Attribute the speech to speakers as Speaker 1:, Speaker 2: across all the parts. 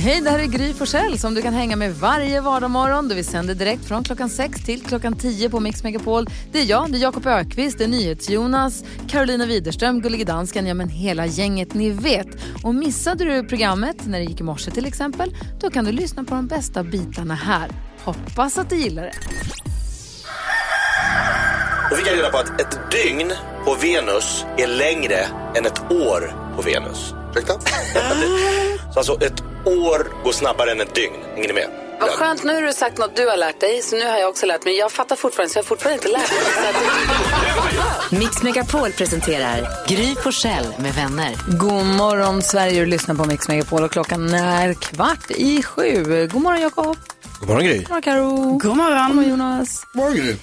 Speaker 1: Hej, det här är Gry Forssell som du kan hänga med varje vardagsmorgon. Vi sänder direkt från klockan 6 till klockan 10 på Mix Megapol. Det är jag, det är Jakob Ökvist, det är NyhetsJonas, Carolina Widerström, Gullige Dansken, ja men hela gänget ni vet. Och missade du programmet när det gick i morse till exempel, då kan du lyssna på de bästa bitarna här. Hoppas att du gillar det.
Speaker 2: Då fick jag reda på att ett dygn på Venus är längre än ett år på Venus. Ursäkta? så alltså ett år går snabbare än ett dygn. Hänger ni med?
Speaker 1: Vad skönt, nu har du sagt något du har lärt dig, så nu har jag också lärt mig. Jag fattar fortfarande, så jag har fortfarande inte lärt mig. Så
Speaker 3: Mix Megapol presenterar Gry Forssell med vänner.
Speaker 1: God morgon Sverige, du lyssnar på Mix Megapol och klockan är kvart i sju. God morgon Jakob.
Speaker 2: God morgon Gry.
Speaker 1: God morgon Karo. God morgon. God morgon Jonas.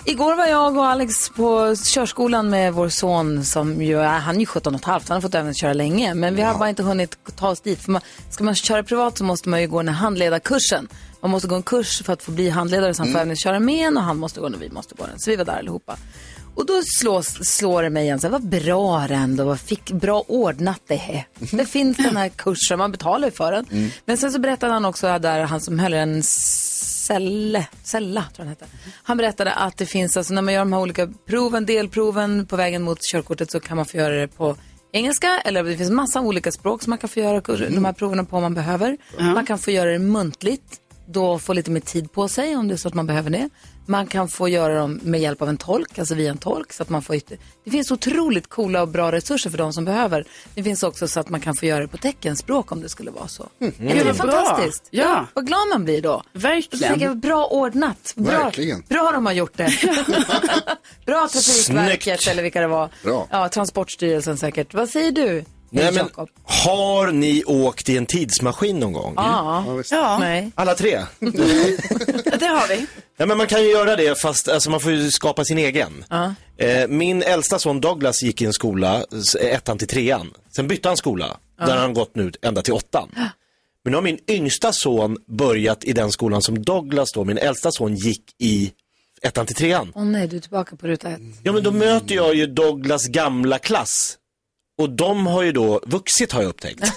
Speaker 1: Igår var jag och Alex på körskolan med vår son som ju är, han är ju 17 och ett halvt, han har fått övningsköra länge. Men vi har bara inte hunnit ta oss dit. För man, ska man köra privat så måste man ju gå den här handledarkursen. Man måste gå en kurs för att få bli handledare så han får övningsköra med en och han måste gå den och vi måste gå den. Så vi var där allihopa. Och då slås, slår det mig igen, så här, vad bra det ändå var, fick bra ordnat det här. Det finns den här kursen, man betalar ju för den. Men sen så berättade han också, där han som höll en Selle, Sella tror jag han hette. Han berättade att det finns, alltså när man gör de här olika proven, delproven på vägen mot körkortet så kan man få göra det på engelska eller det finns massa olika språk som man kan få göra kurs- de här proven på om man behöver. Man kan få göra det muntligt, då få lite mer tid på sig om det är så att man behöver det. Man kan få göra dem med hjälp av en tolk, alltså via en tolk. Så att man får ytter... Det finns otroligt coola och bra resurser för de som behöver. Det finns också så att man kan få göra det på teckenspråk om det skulle vara så. Är det
Speaker 4: Gud,
Speaker 1: är
Speaker 4: Mm, vad bra.
Speaker 1: fantastiskt.
Speaker 4: Ja.
Speaker 1: Vad glad man blir då. Och så
Speaker 4: Verkligen.
Speaker 1: tänker jag, bra ordnat. Bra,
Speaker 5: Verkligen.
Speaker 1: bra de har gjort det. bra Trafikverket
Speaker 2: Snyggt.
Speaker 1: eller vilka det var.
Speaker 5: Bra.
Speaker 1: Ja, Transportstyrelsen säkert. Vad säger du?
Speaker 2: Nej, men,
Speaker 1: Jakob?
Speaker 2: har ni åkt i en tidsmaskin någon gång?
Speaker 1: Ja.
Speaker 4: Ja,
Speaker 1: Nej.
Speaker 2: Alla tre?
Speaker 4: det har vi.
Speaker 2: Nej, men man kan ju göra det fast alltså, man får ju skapa sin egen. Eh, min äldsta son Douglas gick i en skola, s- ettan till trean. Sen bytte han skola, där han gått nu ända till åttan. Men nu har min yngsta son börjat i den skolan som Douglas då, min äldsta son gick i ettan till trean.
Speaker 1: Åh nej, du är tillbaka på ruta ett.
Speaker 2: Ja men då möter jag ju Douglas gamla klass. Och de har ju då vuxit har jag upptäckt.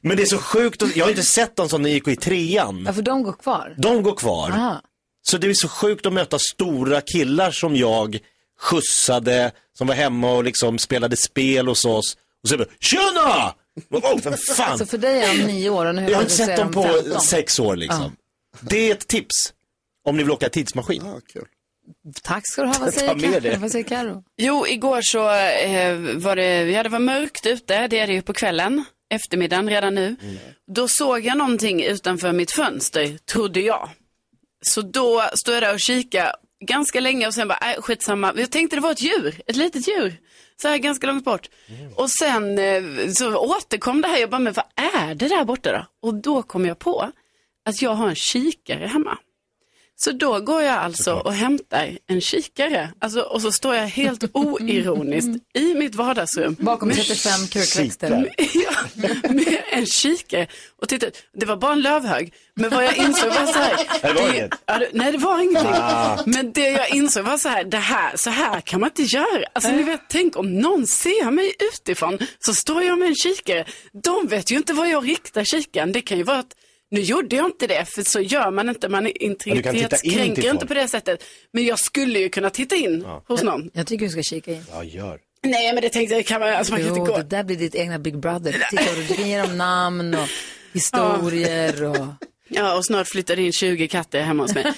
Speaker 2: men det är så sjukt, och, jag har inte sett dem som när de gick i trean.
Speaker 1: Ja, för de går kvar.
Speaker 2: De går kvar.
Speaker 1: Aha.
Speaker 2: Så det är så sjukt att möta stora killar som jag skjutsade, som var hemma och liksom spelade spel hos oss. Och så bara, tjena! Oh, vem fan?
Speaker 1: Så Alltså, för dig är de nio år och nu
Speaker 2: Jag har
Speaker 1: du
Speaker 2: inte
Speaker 1: så är
Speaker 2: sett dem
Speaker 1: de
Speaker 2: på
Speaker 1: 15.
Speaker 2: sex år liksom. Det är ett tips. Om ni vill åka tidsmaskin.
Speaker 5: Ja, Ah, kul.
Speaker 1: Tack ska du ha. Vad
Speaker 2: Ta
Speaker 1: säger
Speaker 2: med det.
Speaker 1: Karo? Vad säger Karo?
Speaker 4: Jo, igår så eh, var det, ja, det var mörkt ute, det är det ju på kvällen, eftermiddagen redan nu. Då såg jag någonting utanför mitt fönster, trodde jag. Så då stod jag där och kikade ganska länge och sen bara, äh, skitsamma. Jag tänkte det var ett djur, ett litet djur. Så här ganska långt bort. Och sen eh, så återkom det här, jag bara, men vad är det där borta då? Och då kom jag på att jag har en kikare hemma. Så då går jag alltså och hämtar en kikare. Alltså, och så står jag helt oironiskt i mitt vardagsrum.
Speaker 1: Bakom
Speaker 4: med
Speaker 1: 35
Speaker 2: Kikar.
Speaker 1: krukväxter.
Speaker 4: Ja, med en kikare och tittade. Det var bara en lövhög. Men vad jag insåg var så här.
Speaker 2: Det var inget. Ah.
Speaker 4: Ja, det- nej, det var ingenting. Men det jag insåg var så här, det här, så här kan man inte göra. Alltså ni vet, tänk om någon ser mig utifrån så står jag med en kikare. De vet ju inte var jag riktar kikaren. Det kan ju vara att nu gjorde jag inte det, för så gör man inte. Man är
Speaker 2: du kan titta in till
Speaker 4: integritetskränker inte
Speaker 2: folk.
Speaker 4: på det sättet. Men jag skulle ju kunna titta in hos någon.
Speaker 1: Jag tycker du ska kika in.
Speaker 2: Ja, gör.
Speaker 4: Nej, men det tänkte jag, kan man, alltså, man kan
Speaker 1: Jo,
Speaker 4: inte gå.
Speaker 1: det där blir ditt egna Big Brother. Titta, och du ger dem namn och historier och...
Speaker 4: Ja, och snart flyttar det in 20 katter hemma hos mig.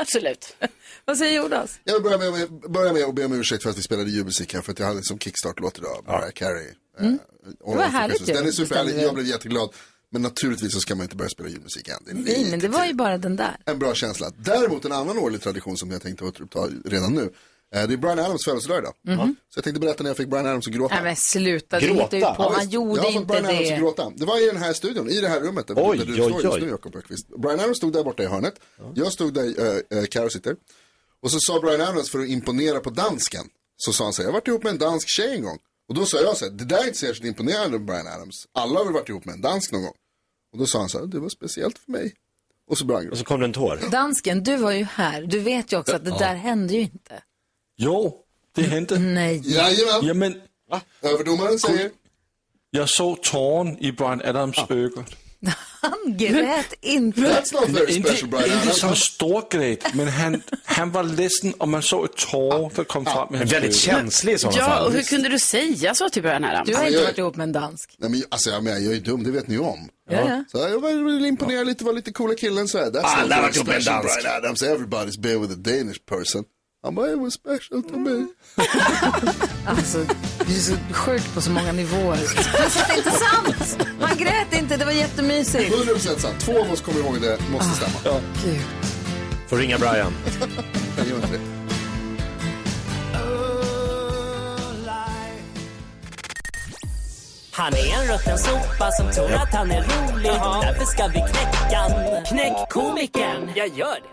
Speaker 4: Absolut.
Speaker 1: Vad säger Jonas?
Speaker 5: Jag vill börja med, börja med att be om ursäkt för att vi spelade julmusik här för att jag hade som kickstart-låt idag, Mariah Carey. Mm.
Speaker 1: Det var härligt ju,
Speaker 5: Den är superhärlig,
Speaker 1: bestämde vi.
Speaker 5: jag blev jätteglad. Men naturligtvis så ska man inte börja spela julmusik än. Det är
Speaker 1: Nej,
Speaker 5: lite
Speaker 1: men det var ju bara den där.
Speaker 5: en bra känsla. Däremot en annan årlig tradition som jag tänkte återuppta redan nu. eh, Det är Brian Adams födelsedag idag. Så jag tänkte berätta när jag fick Brian Adams att gråta.
Speaker 1: Mhm. Nej men sluta, du
Speaker 2: Gråta?
Speaker 1: hittar ju på.
Speaker 5: Ja,
Speaker 1: Han
Speaker 5: visst.
Speaker 1: gjorde
Speaker 5: jag har fått
Speaker 1: inte
Speaker 5: Brian Adams att
Speaker 1: det.
Speaker 5: gråta. Det var i den här studion, i det här rummet där,
Speaker 2: Oj,
Speaker 5: där du
Speaker 2: oj,
Speaker 5: står just
Speaker 2: oj.
Speaker 5: nu Jakob Öqvist. Brian Adams stod där borta i hörnet. eh, Jag stod där äh, Karo sitter. Och så sa Brian Adams för att imponera på dansken. Så sa han så här, jag har varit ihop med en dansk tjej en gång. Och då sa jag så här, det där är inte särskilt imponerande Brian Adams. Alla har väl varit ihop med en dansk någon gång. Och då sa han så här, det var speciellt för mig. Och så brann
Speaker 2: Och så kom det en tår.
Speaker 1: Dansken, du var ju här. Du vet ju också att det där hände ju inte.
Speaker 6: Jo, det hände.
Speaker 1: Nej.
Speaker 5: Jajamän.
Speaker 6: Jamen,
Speaker 5: Överdomaren säger,
Speaker 6: jag såg tåren i Brian Adams ögon.
Speaker 1: Han grät inte.
Speaker 5: that's not very
Speaker 6: Inte,
Speaker 5: special Brian
Speaker 6: inte som
Speaker 5: Adams.
Speaker 6: storgrät, men han, han var ledsen och man såg ett tår som kom fram i
Speaker 2: En
Speaker 6: hans ögon.
Speaker 2: väldigt känslig i sådana
Speaker 4: Ja,
Speaker 2: fall.
Speaker 4: och hur kunde du säga så till Brian Adams?
Speaker 1: Du har inte
Speaker 5: jag-
Speaker 1: varit ihop med en dansk.
Speaker 5: Nej men alltså jag, menar, jag är ju dum, det vet ni ju om.
Speaker 1: Ja, ja.
Speaker 5: Så jag var väl imponerad lite, var lite coola killen så här. That's
Speaker 2: Ah, där
Speaker 5: not very
Speaker 2: vart jag uppe en
Speaker 5: special,
Speaker 2: dansk.
Speaker 5: Brian Adams, everybody's been with a Danish person. Han bara, it was special to me.
Speaker 1: Alltså, du är så sjuk på så många nivåer. Plus att det är inte sant! Han grät inte, det var jättemysigt.
Speaker 5: 100% sant, två av oss kommer ihåg det,
Speaker 1: Ah.
Speaker 5: måste stämma.
Speaker 1: Gud.
Speaker 2: Får ringa Brian.
Speaker 5: Jag gör inte det.
Speaker 7: Han är en rutten sopa som tror att han är rolig. Därför ska vi knäcka han. Knäck komikern. Jag gör det.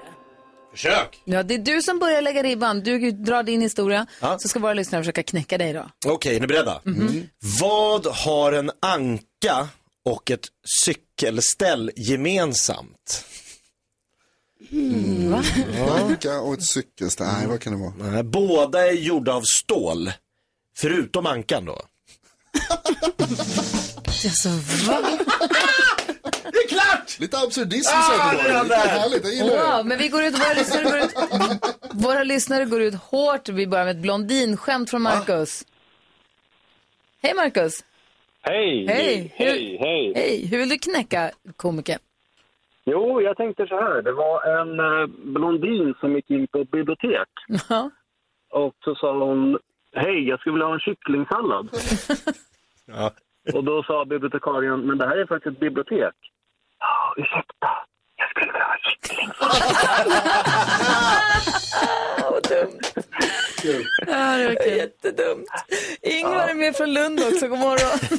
Speaker 2: Försök!
Speaker 1: Ja, det är du som börjar lägga ribban. Du drar din historia, så ska våra lyssnare försöka knäcka dig då.
Speaker 2: Okej, är ni beredda?
Speaker 1: Mhm.
Speaker 2: Mm. Vad har en anka och ett cykelställ gemensamt?
Speaker 5: Anka och ett cykelställ. Nej, vad kan det vara?
Speaker 2: Nej, Båda är gjorda av stål, förutom ankan då.
Speaker 1: Alltså, va?
Speaker 2: Det är klart!
Speaker 5: Lite absurdism
Speaker 2: Ah,
Speaker 5: ah,
Speaker 2: det är
Speaker 5: säkert.
Speaker 2: han
Speaker 5: Lite
Speaker 2: där.
Speaker 5: härligt, jag gillar det.
Speaker 1: Wow, men vi går ut, våra lyssnare går ut, våra lyssnare går ut hårt. Vi börjar med ett blondinskämt från Marcus. Hej Marcus!
Speaker 8: Hej!
Speaker 1: Hej.
Speaker 8: Hej! Hej!
Speaker 1: Hej, hur vill du knäcka komikern?
Speaker 8: Jo, jag tänkte så här. Det var en eh, blondin som gick in på ett bibliotek.
Speaker 1: Ja.
Speaker 8: Och så sa hon, hej, jag skulle vilja ha en kycklingsallad. Och då sa bibliotekarien, men det här är faktiskt ett bibliotek. "Ja, Ursäkta, jag skulle vilja ha en kyckling.
Speaker 1: Jättedumt. Ingvar är med från Lund också, god morgon.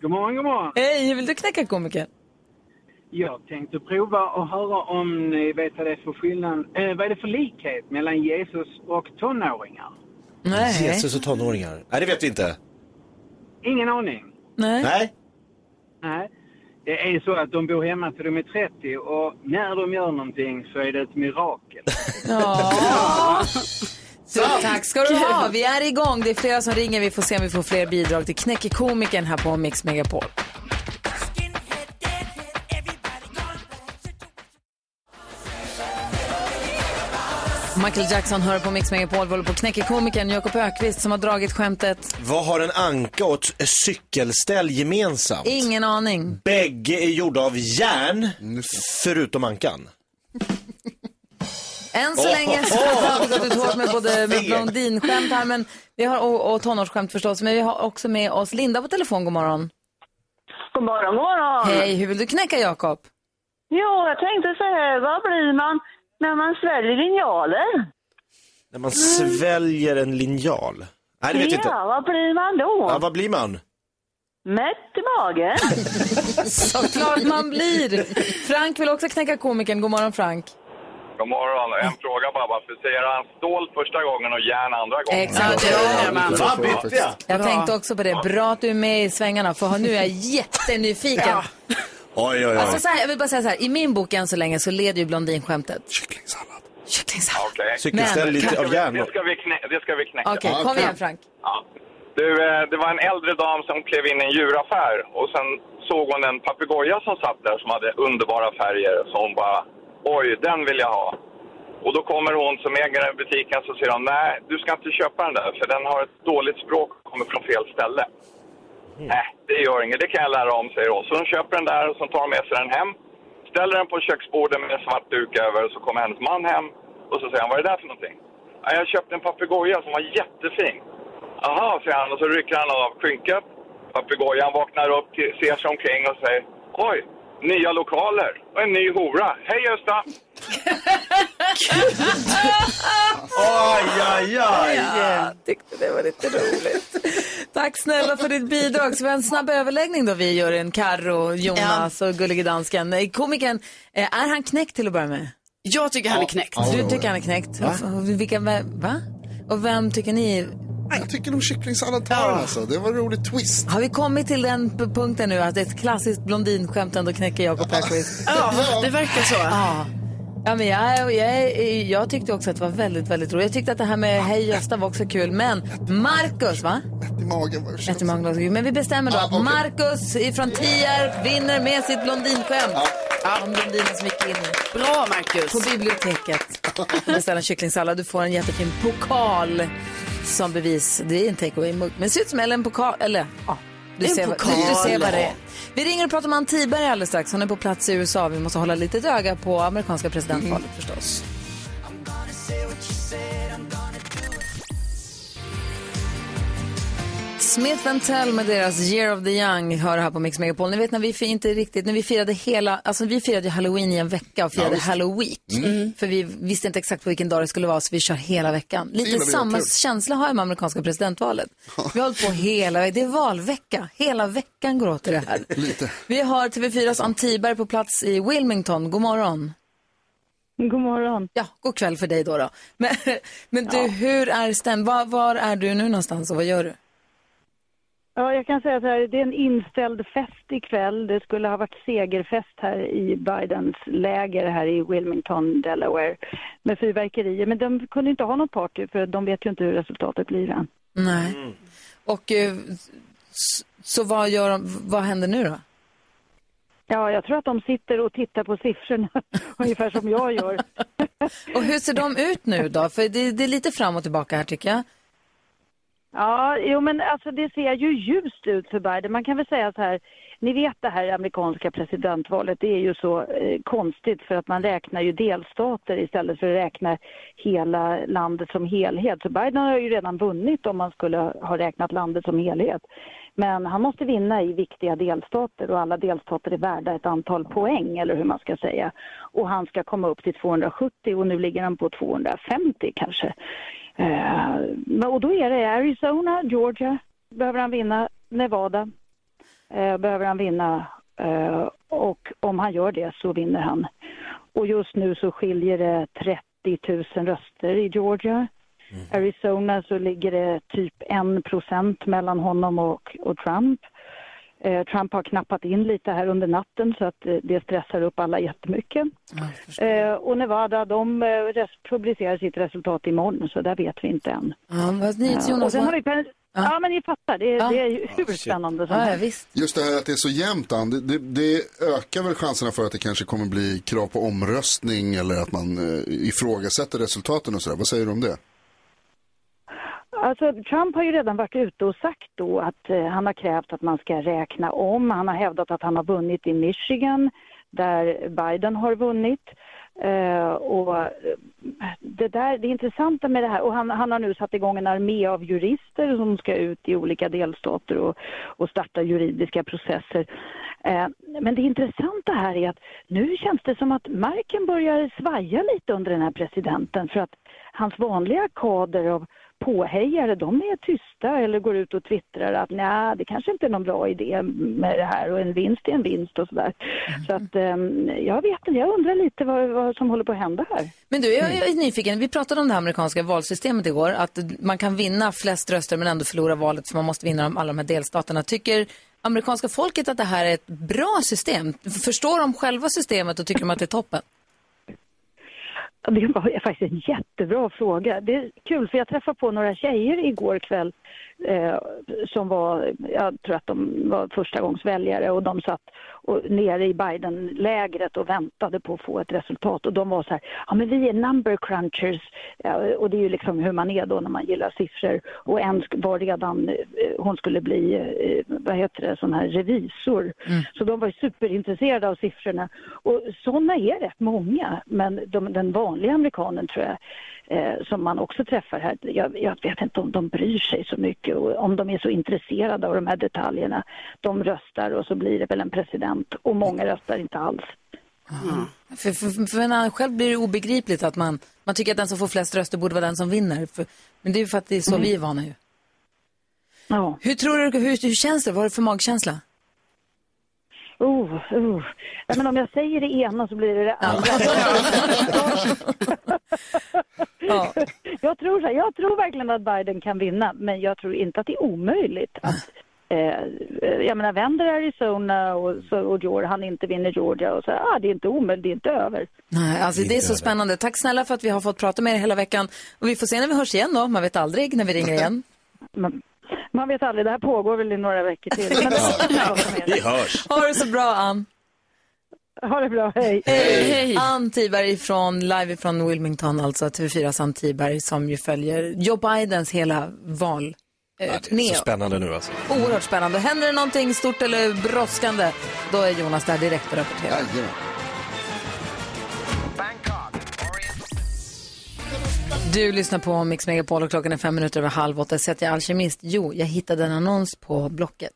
Speaker 8: God morgon, god morgon.
Speaker 1: Hej, hur vill du knäcka komikern?
Speaker 8: Jag tänkte prova och höra om ni vet vad det är för skillnad, eh, vad är det för likhet mellan Jesus och tonåringar?
Speaker 1: Nej.
Speaker 2: Jesus och tonåringar. Nej, det vet vi inte.
Speaker 8: Ingen aning.
Speaker 1: Nej.
Speaker 2: Nej.
Speaker 8: Nej. Det är så att de bor hemma till de är 30 och när de gör någonting så är det ett mirakel.
Speaker 1: Så, tack ska du ha. Vi är igång. Det är flera som ringer. Vi får se om vi får fler bidrag till Knäcker komikern här på Mix Megapol. Michael Jackson hör på Mix Megapol. Vi håller på och knäcker komikern Jakob Ökvist som har dragit skämtet.
Speaker 2: Vad har en anka och ett cykelställ gemensamt?
Speaker 1: Ingen aning.
Speaker 2: Bägge är gjorda av järn, förutom ankan.
Speaker 1: Än så länge så har vi gått ut hårt med både med blondinskämt här men vi har, och, och tonårsskämt förstås. Men vi har också med oss Linda på telefon. God morgon.
Speaker 7: God morgon, morgon.
Speaker 1: Hej, hur vill du knäcka Jakob?
Speaker 7: Jo, jag tänkte så här. Vad blir man när man sväljer linjaler?
Speaker 2: När man sväljer en linjal. Nej, det vet vi inte.
Speaker 7: Ja, vad blir man då?
Speaker 2: Ja, vad blir man?
Speaker 7: Mätt i magen?
Speaker 1: Såklart man blir. Frank vill också knäcka komikern. God morgon Frank.
Speaker 8: God morgon.
Speaker 2: Mm.
Speaker 8: En fråga bara. Varför säger han stål första gången och järn andra gången?
Speaker 1: Exakt.
Speaker 4: Ja, man.
Speaker 2: Fan, bytte
Speaker 1: Jag tänkte också på det. Bra att du är med i svängarna för nu är jag jättenyfiken.
Speaker 2: Oj, oj,
Speaker 1: Alltså,
Speaker 2: oj.
Speaker 1: så här, jag vill bara säga så här, i min bok än så länge så leder ju blondinskämtet.
Speaker 5: Kycklingsallad.
Speaker 1: Kycklingsallad.
Speaker 8: Okej.
Speaker 2: Cykelställ
Speaker 1: Men-
Speaker 2: lite av järn.
Speaker 8: Det ska vi, knä- det ska vi knäcka.
Speaker 1: Okej,
Speaker 5: Ja,
Speaker 1: kom
Speaker 5: okej.
Speaker 1: igen Frank.
Speaker 8: Ja. Du, eh, det var en äldre dam som klev in i en djuraffär och sen såg hon en papegoja som satt där som hade underbara färger. Så hon bara, oj, den vill jag ha. Och då kommer hon som äger den butiken så säger hon, nej, du ska inte köpa den där för den har ett dåligt språk och kommer från fel ställe.
Speaker 1: Mm.
Speaker 8: Nej, det gör inget, det kan jag lära om, säger hon. Så hon köper den där och så tar hon med sig den hem. Ställer den på köksbordet med en svart duk över och så kommer hennes man hem och så säger han, vad är det där för någonting? Ja, jag köpte en papegoja som var jättefin. Aha, säger han och så rycker han av skynket. Papegojan vaknar upp, till- ser sig omkring och säger, oj, nya lokaler och en ny hora. Hej Gösta!
Speaker 2: Aj, aj, aj.
Speaker 1: Jag tyckte det var lite roligt. Tack snälla för ditt bidrag. Så vi har en snabb överläggning då vi gör en Karro, Jonas och gullige dansken. Eh, Komikern, eh, är han knäckt till att börja med?
Speaker 4: Jag tycker han är knäckt.
Speaker 1: Du tycker han är knäckt? Va? Vilka, va? Och vem tycker ni?
Speaker 5: Jag tycker om kycklingsallad tar
Speaker 2: Ah.
Speaker 5: den alltså. Det var en rolig twist.
Speaker 1: Har vi kommit till den p- punkten nu att det är ett klassiskt blondinskämt ändå knäcker Jakob Perkvist?
Speaker 4: Ja, det verkar så.
Speaker 1: Ja. Ja, men jag, jag, jag tyckte också att det var väldigt, väldigt roligt. Jag tyckte att det här med Hej Gösta var också kul. Men Marcus, va?
Speaker 5: Mätt i magen var det
Speaker 1: Mätt i magen var också kul. Men vi bestämmer då
Speaker 5: Ah,
Speaker 1: att
Speaker 5: okej.
Speaker 1: Marcus ifrån Tierp vinner med sitt blondinskämt. Om blondinen som gick in.
Speaker 4: Bra Marcus!
Speaker 1: På biblioteket. Du beställer en kycklingsallad. Du får en jättefin pokal som bevis. Det är en take away-mugg. Men det ser ut som eller en pokal. Eller ja, du,
Speaker 4: En
Speaker 1: ser, vad-
Speaker 4: pokal.
Speaker 1: du ser vad det är. Vi ringer och pratar med Ann Tiberg alldeles strax. Hon är på plats i USA. Vi måste hålla lite öga på amerikanska
Speaker 2: Mm.
Speaker 1: presidentvalet
Speaker 4: Mm.
Speaker 1: förstås. Smith Tell med deras Year of the Young hör här på Mix Megapol. Ni vet när vi fi- inte riktigt, när vi firade hela, alltså vi firade ju halloween i en vecka och firade
Speaker 9: Ja, visst.
Speaker 1: halloween.
Speaker 9: Mm.
Speaker 1: För vi visste inte exakt på vilken dag det skulle vara så vi kör hela veckan. Lite
Speaker 9: gillar vi,
Speaker 1: samma
Speaker 9: kul.
Speaker 1: känsla har jag med amerikanska presidentvalet. Vi har hållit på hela, det är valvecka, hela veckan går åt till det här.
Speaker 5: Lite.
Speaker 1: Vi har TV4s Ann Tiberg på plats i Wilmington, god morgon.
Speaker 10: God morgon.
Speaker 1: Ja, god kväll för dig då. då. Men, men du, hur är stämningen? Var, var är du nu någonstans och vad gör du?
Speaker 10: Ja, jag kan säga så här, det är en inställd fest ikväll. Det skulle ha varit segerfest här i Bidens läger här i Wilmington, Delaware, med fyrverkerier. Men de kunde inte ha något party för de vet ju inte hur resultatet blir än.
Speaker 1: Nej. Och eh, s- så vad, gör de, vad händer nu då?
Speaker 10: Ja, jag tror att de sitter och tittar på siffrorna, ungefär som jag gör.
Speaker 1: Och hur ser de ut nu då? För det, det är lite fram och tillbaka här tycker jag.
Speaker 10: Ja, jo men alltså det ser ju ljust ut för Biden. Man kan väl säga så här, ni vet det här amerikanska presidentvalet, det är ju så eh, konstigt för att man räknar ju delstater istället för att räkna hela landet som helhet. Så Biden har ju redan vunnit om man skulle ha räknat landet som helhet. Men han måste vinna i viktiga delstater och alla delstater är värda ett antal poäng eller hur man ska säga. Och han ska komma upp till 270 och nu ligger han på 250 kanske. Eh, men- och då är det Arizona, Georgia, behöver han vinna, Nevada eh, behöver han vinna eh, och om han gör det så vinner han. Och just nu så skiljer det 30 000 röster i Georgia. Arizona så ligger det typ 1 procent mellan honom och, och Trump. Eh, Trump har knappat in lite här under natten så att eh, det stressar upp alla jättemycket. Eh, och Nevada, de eh, res- publicerar sitt resultat imorgon så där vet vi inte än.
Speaker 1: Ja, vad ni,
Speaker 10: Ja, och
Speaker 1: Jonas,
Speaker 10: sen
Speaker 1: vad-
Speaker 10: har vi pen- ja, men ni fattar, det,
Speaker 1: Ja.
Speaker 10: det är ju hur spännande som
Speaker 1: Ja, ja,
Speaker 10: helst.
Speaker 1: visst.
Speaker 5: Just det här att det är så jämnt, Ann, det, det, det ökar väl chanserna för att det kanske kommer bli krav på omröstning eller att man eh, ifrågasätter resultaten och sådär. Vad säger du om det?
Speaker 10: Alltså, Trump har ju redan varit ute och sagt då att eh, han har krävt att man ska räkna om. Han har hävdat att han har vunnit i Michigan där Biden har vunnit. Eh, och eh, det, där, det intressanta med det här, och han, han har nu satt igång en armé av jurister som ska ut i olika delstater och, och starta juridiska processer. Eh, men det intressanta här är att nu känns det som att marken börjar svaja lite under den här presidenten för att hans vanliga kader av påhejare, de är tysta eller går ut och twittrar att nej, det kanske inte är någon bra idé med det här och en vinst är en vinst och sådär. Så att ehm, jag vet inte, jag undrar lite vad, vad som håller på att hända här.
Speaker 1: Men du, jag, jag är nyfiken. Vi pratade om det här amerikanska valsystemet igår. Att man kan vinna flest röster men ändå förlora valet för man måste vinna de- alla de här delstaterna. Tycker amerikanska folket att det här är ett bra system? Förstår de själva systemet och tycker de att det är toppen?
Speaker 10: Ja, Det var faktiskt en jättebra fråga. Det är kul för jag träffade på några tjejer igår kväll eh, som var, jag tror att de var förstagångsväljare och de satt och, nere i Biden-lägret och väntade på att få ett resultat och de var så här, ja men vi är number crunchers Ja, och det är ju liksom hur man är då när man gillar siffror och en sk- var redan, eh, hon skulle bli, eh, vad heter det, sån här revisor. Så de var ju superintresserade av siffrorna. Och sådana är rätt många, men de, den vanliga amerikanen tror jag, eh, som man också träffar här, jag, jag vet inte om de bryr sig så mycket och om de är så intresserade av de här detaljerna. De röstar och så blir det väl en president och många röstar inte alls.
Speaker 1: För, för, för när han själv blir det obegripligt att man, man tycker att den som får flest röster borde vara den som vinner. För, men det är ju för att det är så
Speaker 10: Mm.
Speaker 1: vi är vana ju.
Speaker 10: Ja.
Speaker 1: Hur tror du, hur, hur känns det? Vad har du för magkänsla?
Speaker 10: Oh, oh. Nej, men om jag säger det ena så blir det det andra. jag, tror så här, jag tror verkligen att Biden kan vinna, men jag tror inte att det är omöjligt. Att, eh, jag menar, vänder Arizona och, så- och Georgia, han inte vinner Georgia och så, här, ah, det är inte omöjligt, det är inte över.
Speaker 1: Nej, alltså det är så spännande. Tack snälla för att vi har fått prata med er hela veckan. Och vi får se när vi hörs igen då. Man vet aldrig när vi ringer igen.
Speaker 10: Man vet aldrig, det här pågår väl i några veckor till. Men,
Speaker 2: Vi hörs.
Speaker 1: Ha det så bra, Ann.
Speaker 10: Ha det bra, hej.
Speaker 1: Hej. Ann Tiberg från, live från Wilmington, alltså TV4s Ann Tiberg som ju följer Joe Bidens hela val. eh,
Speaker 2: Ja, det är
Speaker 1: turné.
Speaker 2: så spännande nu alltså.
Speaker 1: Oerhört spännande. Händer det någonting stort eller brådskande, då är Jonas där direkt och rapporterar. Du lyssnar på Mix Megapol och klockan är fem minuter över halv åtta. Så att jag är alkemist? Jo, jag hittade en annons på Blocket.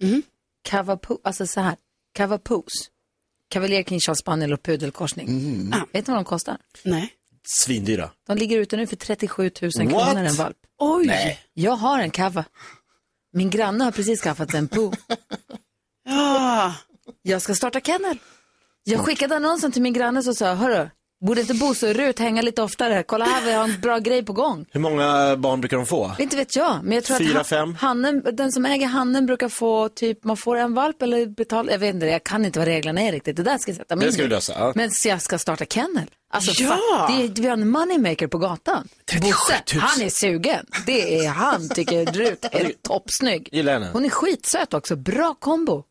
Speaker 4: Mhm.
Speaker 1: Cavapo, alltså så här, Cavapos. Cavalier, King Charles Spaniel och pudelkorsning.
Speaker 2: Mhm.
Speaker 1: Vet ni vad de kostar?
Speaker 4: Nej.
Speaker 2: Svindyra.
Speaker 1: De ligger ute nu för 37 000
Speaker 2: What?
Speaker 1: kronor en valp.
Speaker 4: Oj!
Speaker 2: Nej.
Speaker 1: Jag har en kava. Min granne har precis skaffat sig en po.
Speaker 4: ja.
Speaker 1: Jag ska starta kennel. Jag skickade annonsen till min granne och sa, hörru, borde inte Bosse och Rut hänga lite oftare? Kolla här, vi har en bra grej på gång.
Speaker 2: Hur många barn brukar de få?
Speaker 1: Inte vet jag, men jag tror
Speaker 2: Fyra,
Speaker 1: att
Speaker 2: fem?
Speaker 1: han, hannen, den som äger hannen brukar få typ, man får en valp eller betala, jag vet inte, jag kan inte vad reglerna är riktigt. Det där ska jag sätta mig
Speaker 2: Det
Speaker 1: in
Speaker 2: ska
Speaker 1: i.
Speaker 2: vi lösa. ja.
Speaker 1: Men så jag ska starta kennel. Alltså,
Speaker 2: Ja!
Speaker 1: ja! det är, vi har en moneymaker på gatan. Bosse, han är sugen. Det är han, tycker Rut. Är toppsnygg.
Speaker 2: Gillar henne.
Speaker 1: Hon är skitsöt också. Bra kombo.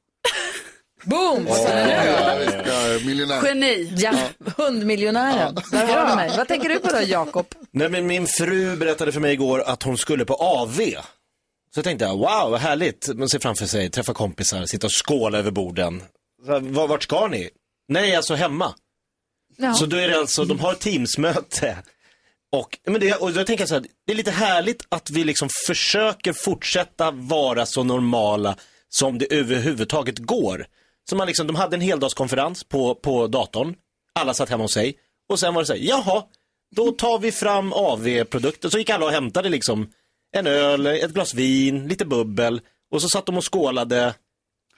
Speaker 1: Boom!
Speaker 5: Ja, ja, visst, ja, Miljonär.
Speaker 1: Geni. Ja, hundmiljonären. Där har du mig. Vad tänker du på då, Jakob?
Speaker 2: Nej, men min fru berättade för mig igår att hon skulle på AV. Så tänkte jag, wow, vad härligt. Man ser framför sig, träffa kompisar, sitta och skåla över borden. Så här, "Var- Vart ska ni? Nej, alltså hemma.
Speaker 1: Ja.
Speaker 2: Så då är det alltså, de har ett teamsmöte. Och, men det, och då tänker jag så här, det är lite härligt att vi liksom försöker fortsätta vara så normala som det överhuvudtaget går. Så man liksom, de hade en heldagskonferens på, på datorn, alla satt hemma hos sig och sen var det så här, jaha, då tar vi fram AV-produkter. Så gick alla och hämtade liksom en öl, ett glas vin, lite bubbel och så satt de och skålade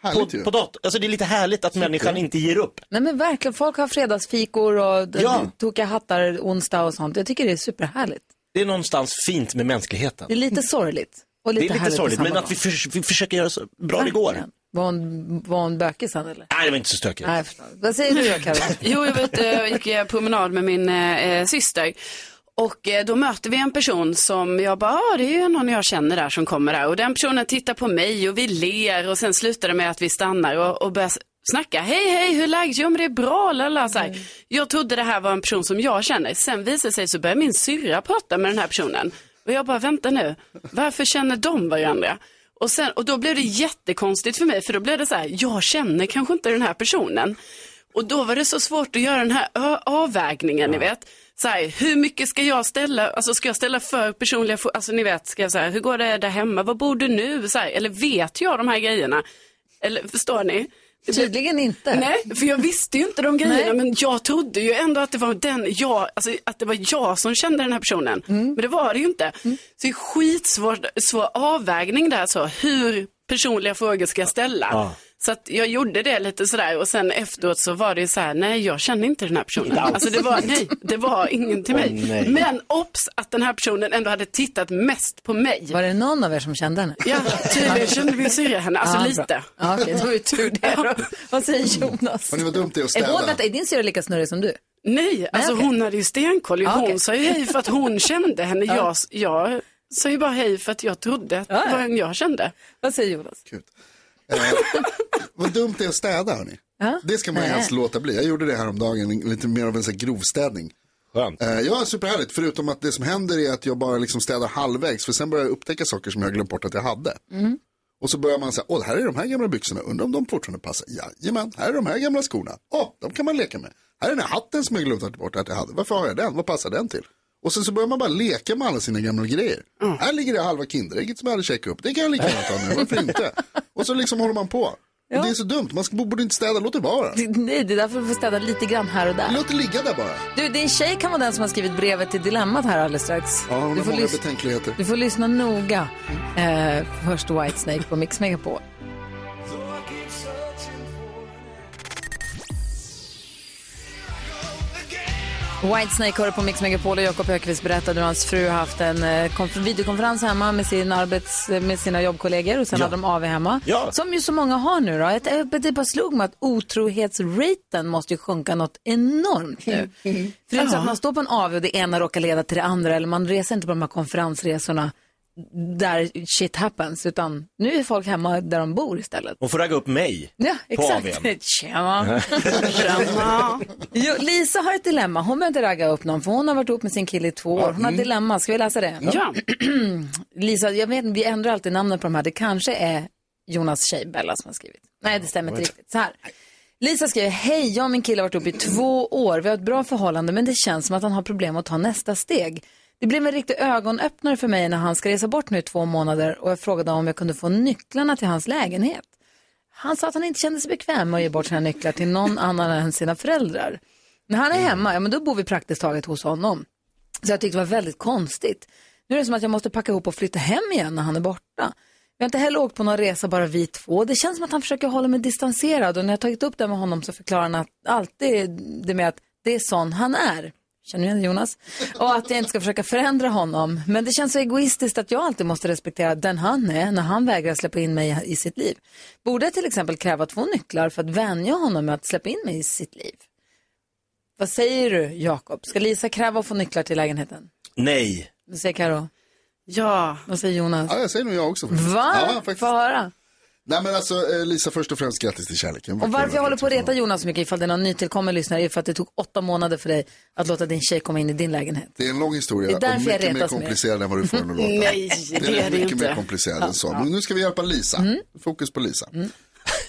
Speaker 5: Härligt
Speaker 2: på,
Speaker 5: ju.
Speaker 2: på datorn. Alltså det är lite härligt att människan inte ger upp.
Speaker 1: Nej men verkligen, folk har fredagsfikor och d-
Speaker 2: Ja.
Speaker 1: tokiga hattar onsdag och sånt. Jag tycker det är superhärligt.
Speaker 2: Det är någonstans fint med mänskligheten.
Speaker 1: Det är lite sorgligt. Och lite
Speaker 2: det är lite
Speaker 1: härligt på
Speaker 2: sorgligt,
Speaker 1: samma
Speaker 2: men
Speaker 1: gång.
Speaker 2: att vi, förs- vi försöker göra så bra det går.
Speaker 1: Var hon, var hon bökig sen eller?
Speaker 2: Nej, det var inte så stökigt.
Speaker 1: Nej, jag förstår. Vad säger du då Karin?
Speaker 4: Jo, jag vet, eh, jag gick eh, promenad med min eh, syster. Och eh, då möter vi en person som jag bara, ah, det är ju någon jag känner där som kommer där. Och den personen tittar på mig och vi ler och sen slutar det med att vi stannar och, och börjar s- snacka. Hej, hej, hur är läget? Jo, men det är bra, lala. Så här.
Speaker 1: Mm.
Speaker 4: Jag trodde det här var en person som jag känner. Sen visar det sig så börjar min syrra prata med den här personen. Och jag bara, vänta nu, varför känner de varandra? Och, sen, och då blev det jättekonstigt för mig, för då blev det så här, jag känner kanske inte den här personen. Och då var det så svårt att göra den här ö- avvägningen, ni vet. Så här, hur mycket ska jag ställa, alltså ska jag ställa för personliga frågor, alltså ni vet, ska jag säga, hur går det där hemma, var bor du nu, så här, eller vet jag de här grejerna? Eller förstår ni? Det blir-
Speaker 1: Tydligen inte.
Speaker 4: Nej, för jag visste ju inte de grejerna, men jag trodde ju ändå att det var den jag, alltså att det var jag som kände den här personen.
Speaker 1: Mm.
Speaker 4: Men det var det ju inte. Så det är skitsvår svår avvägning där, så hur personliga frågor ska jag ställa.
Speaker 2: Ja.
Speaker 4: Så att jag gjorde det lite sådär och sen efteråt så var det ju så här, nej jag känner inte den här personen.
Speaker 2: Inte alls.
Speaker 4: Alltså det var, nej, det var ingen till
Speaker 2: Åh,
Speaker 4: mig.
Speaker 2: nej.
Speaker 4: Men obs att den här personen ändå hade tittat mest på mig.
Speaker 1: Var det någon av er som kände henne?
Speaker 4: Ja, tydligen kände min syrra henne, alltså
Speaker 1: Ja, bra.
Speaker 4: lite.
Speaker 1: Ja, okej, det var ju tur det då. Vad säger Jonas?
Speaker 5: Hörni, vad dumt det är att
Speaker 1: Är, hon,
Speaker 5: städa.
Speaker 1: vänta, är din syrra lika snurrig som du?
Speaker 4: Nej, alltså
Speaker 1: okej.
Speaker 4: hon hade ju stenkoll. ju.
Speaker 1: Ja,
Speaker 4: hon
Speaker 1: okej.
Speaker 4: sa ju hej för att hon kände henne.
Speaker 1: Ja.
Speaker 4: Jag, jag sa ju bara hej för att jag trodde att det var en jag kände.
Speaker 1: Vad säger Jonas?
Speaker 5: Vad dumt det är att städa hörni. Det ska man
Speaker 1: Nej.
Speaker 5: helst låta bli. Jag gjorde det här om dagen, lite mer av en sån här grovstädning. Eh,
Speaker 2: Skönt.
Speaker 5: Ja, superhärligt. Förutom att det som händer är att jag bara liksom städar halvvägs. För sen börjar jag upptäcka saker som jag glömt bort att jag hade. Och så börjar man säga, åh, här är de här gamla byxorna, undrar om de fortfarande passar. Jajamän, här är de här gamla skorna, åh, de kan man leka med. Här är den här hatten som jag glömt att bort att jag hade, varför har jag den, vad passar den till? Och sen så börjar man bara leka med alla sina gamla grejer.
Speaker 1: Mm.
Speaker 5: Här ligger det halva Kinderägget som jag hade checkat upp, det kan jag lika gärna ta nu, varför inte? Och så liksom håller man på. Och det är så dumt, man ska- borde inte städa, låt det vara.
Speaker 1: Det- Nej, det är därför du får städa lite grann här och där.
Speaker 5: Låt det ligga där bara.
Speaker 1: Du, din tjej kan vara den som har skrivit brevet till Dilemmat här alldeles strax.
Speaker 5: Ja, hon
Speaker 1: du,
Speaker 5: har
Speaker 1: får
Speaker 5: många
Speaker 1: lys-
Speaker 5: betänkligheter.
Speaker 1: du får lyssna noga. Eh, först Whitesnake på Mix Megapol. Whitesnake hör på Mix Megapol och Jakob Högqvist berättade hur hans fru haft en eh, konf- videokonferens hemma med, sin arbets, med sina jobbkollegor och sen
Speaker 9: Ja.
Speaker 1: hade de AV hemma.
Speaker 9: Ja.
Speaker 1: Som ju så många har nu då. Ett, eh, det bara slog mig att otrohetsraten måste ju sjunka något enormt nu. För det är inte så att man står på en AV och det ena råkar leda till det andra eller man reser inte på de här konferensresorna där shit happens utan nu är folk hemma där de bor istället.
Speaker 2: Hon får ragga upp mig
Speaker 1: Ja,
Speaker 2: på
Speaker 1: exakt.
Speaker 2: AWn.
Speaker 1: Tjena. Jo, Lisa har ett dilemma. Hon behöver inte ragga upp någon för hon har varit ihop med sin kille i två år. Hon har ett dilemma. Ska vi läsa det?
Speaker 4: Ja.
Speaker 1: Lisa, jag vet, vi ändrar alltid namnen på de här. Det kanske är Jonas tjej Bella som har skrivit. Nej, det stämmer inte
Speaker 9: What?
Speaker 1: riktigt. Så här. Lisa skriver, hej, jag och min kille har varit ihop i två år. Vi har ett bra förhållande men det känns som att han har problem att ta nästa steg. Det blev en riktig ögonöppnare för mig när han ska resa bort nu i två månader och jag frågade om jag kunde få nycklarna till hans lägenhet. Han sa att han inte kände sig bekväm med att ge bort sina nycklar till någon annan än sina föräldrar. När han är hemma, ja men då bor vi praktiskt taget hos honom. Så jag tyckte det var väldigt konstigt. Nu är det som att jag måste packa ihop och flytta hem igen när han är borta. Vi har inte heller åkt på någon resa, bara vi två. Det känns som att han försöker hålla mig distanserad och när jag tagit upp det med honom så förklarar han att alltid det med att det är sån han är. Känner du igen det, Jonas? Och att jag inte ska försöka förändra honom. Men det känns så egoistiskt att jag alltid måste respektera den han är när han vägrar släppa in mig i sitt liv. Borde jag till exempel kräva två nycklar för att vänja honom med att släppa in mig i sitt liv? Vad säger du, Jakob? Ska Lisa kräva att få nycklar till lägenheten?
Speaker 2: Nej.
Speaker 1: Vad säger Karo?
Speaker 4: Ja.
Speaker 1: Vad säger Jonas?
Speaker 5: Ja, jag säger nog jag också.
Speaker 1: Va?
Speaker 5: Ja, faktiskt.
Speaker 1: Få höra.
Speaker 5: Nej men alltså eh, Lisa, först och främst grattis till kärleken.
Speaker 1: Och varför jag håller på att reta Jonas så mycket ifall det är någon nytillkommen lyssnare är för att det tog åtta månader för dig att låta din tjej komma in i din lägenhet.
Speaker 5: Det är en lång historia
Speaker 1: Det är därför
Speaker 5: och
Speaker 1: jag
Speaker 5: mycket mer
Speaker 1: retas med.
Speaker 5: komplicerad än vad du får den att låta.
Speaker 1: Nej, det är det
Speaker 5: mycket
Speaker 1: inte.
Speaker 5: mer komplicerad
Speaker 1: Ja,
Speaker 5: än så.
Speaker 1: ja. Mm.
Speaker 5: Men nu ska vi hjälpa Lisa. Fokus på Lisa.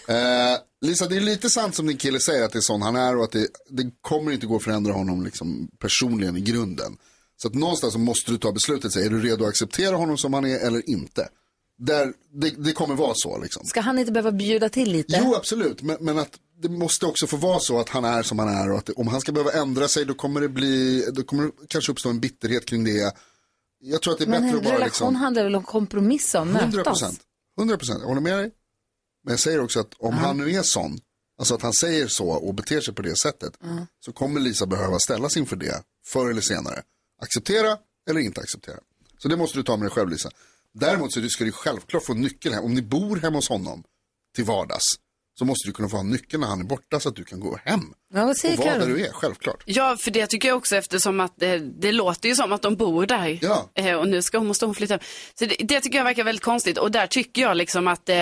Speaker 5: Eh, Lisa, det är lite sant som din kille säger att det är sån han är och att det, det kommer inte gå att förändra honom liksom personligen i grunden. Så att någonstans så måste du ta beslutet, så här, är du redo att acceptera honom som han är eller inte? Där, det, det kommer vara så liksom.
Speaker 1: Ska han inte behöva bjuda till lite?
Speaker 5: Jo, absolut. Men, men att det måste också få vara så att han är som han är och att det, om han ska behöva ändra sig då kommer det bli, då kommer det kanske uppstå en bitterhet kring det. Jag tror att det är
Speaker 1: Men
Speaker 5: bättre
Speaker 1: en
Speaker 5: att bara
Speaker 1: relation
Speaker 5: liksom,
Speaker 1: handlar väl om kompromisser och
Speaker 5: 100
Speaker 1: mötas?
Speaker 5: procent. 100 procent, jag håller med dig. Men jag säger också att om han nu är sån, alltså att han säger så och beter sig på det sättet,
Speaker 1: Ja.
Speaker 5: så kommer Lisa behöva ställas inför det förr eller senare. Acceptera eller inte acceptera. Så det måste du ta med dig själv Lisa. Däremot så ska du självklart få nyckel hem. Om ni bor hemma hos honom till vardags så måste du kunna få ha nyckeln när han är borta så att du kan gå hem.
Speaker 1: Ja, vad
Speaker 5: och vara där du är, självklart.
Speaker 4: Ja, för det tycker jag också eftersom att det, det låter ju som att de bor där.
Speaker 5: Ja.
Speaker 4: Eh, och nu ska hon, måste hon flytta. Så det, det tycker jag verkar väldigt konstigt och där tycker jag liksom att eh,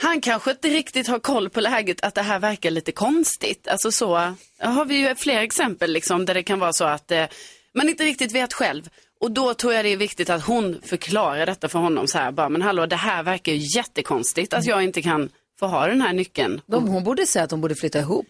Speaker 4: han kanske inte riktigt har koll på läget att det här verkar lite konstigt. Alltså så ja, har vi ju fler exempel liksom där det kan vara så att eh, man inte riktigt vet själv. Och då tror jag det är viktigt att hon förklarar detta för honom så här bara, men hallå det här verkar ju jättekonstigt att jag inte kan få ha den här nyckeln.
Speaker 1: De, hon borde säga att de borde flytta ihop.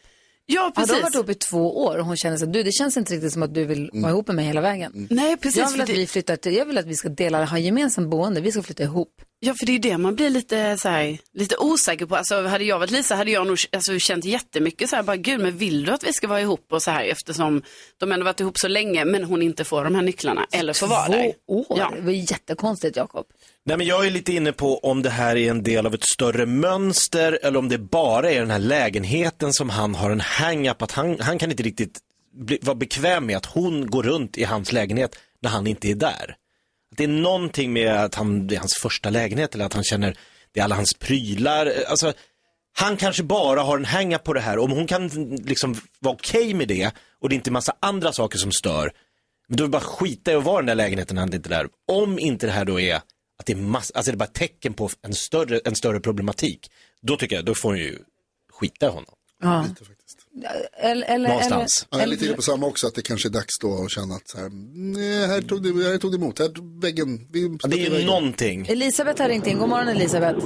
Speaker 4: Ja,
Speaker 1: Har de
Speaker 4: precis.
Speaker 1: varit ihop i två år och hon känner så att du, det känns inte riktigt som att du vill
Speaker 5: Mm.
Speaker 1: vara ihop med mig hela vägen.
Speaker 4: Nej, precis,
Speaker 1: Jag vill,
Speaker 4: för
Speaker 1: att
Speaker 4: det-
Speaker 1: vi flyttar till, jag vill att vi ska dela, ha gemensamt boende, vi ska flytta ihop.
Speaker 4: Ja, för det är ju det man blir lite, så här, lite osäker på. Alltså, hade jag varit Lisa hade jag nog alltså, känt jättemycket så här, bara gud, men vill du att vi ska vara ihop och så här eftersom de ändå varit ihop så länge men hon inte får de här nycklarna eller får vara
Speaker 1: Två
Speaker 4: där.
Speaker 1: år, det var jättekonstigt Jakob.
Speaker 2: Nej, men jag är lite inne på om det här är en del av ett större mönster eller om det bara är den här lägenheten som han har en hang-up att han, han kan inte riktigt bli, vara bekväm med att hon går runt i hans lägenhet när han inte är där. Att det är någonting med att han, det är hans första lägenhet eller att han känner det är alla hans prylar. Alltså, han kanske bara har en hänga på det här. Om hon kan liksom vara okej med det och det är inte massa andra saker som stör, men då är det bara skita i att vara i den där lägenheten när han inte är där. Om inte det här då är att det är massa, alltså det är bara tecken på en större, en större problematik, då tycker jag, då får hon ju skita i honom.
Speaker 1: Ja. Eller, eller,
Speaker 2: Någonstans.
Speaker 5: Ja,
Speaker 1: Eller,
Speaker 5: jag är lite
Speaker 1: eller,
Speaker 5: inne på samma också, att det kanske är dags då att känna att så här, nej, här tog det, här tog det emot, här tog väggen. Vi
Speaker 2: det är ju någonting.
Speaker 1: Elisabeth har ringt in. God morgon Elisabeth.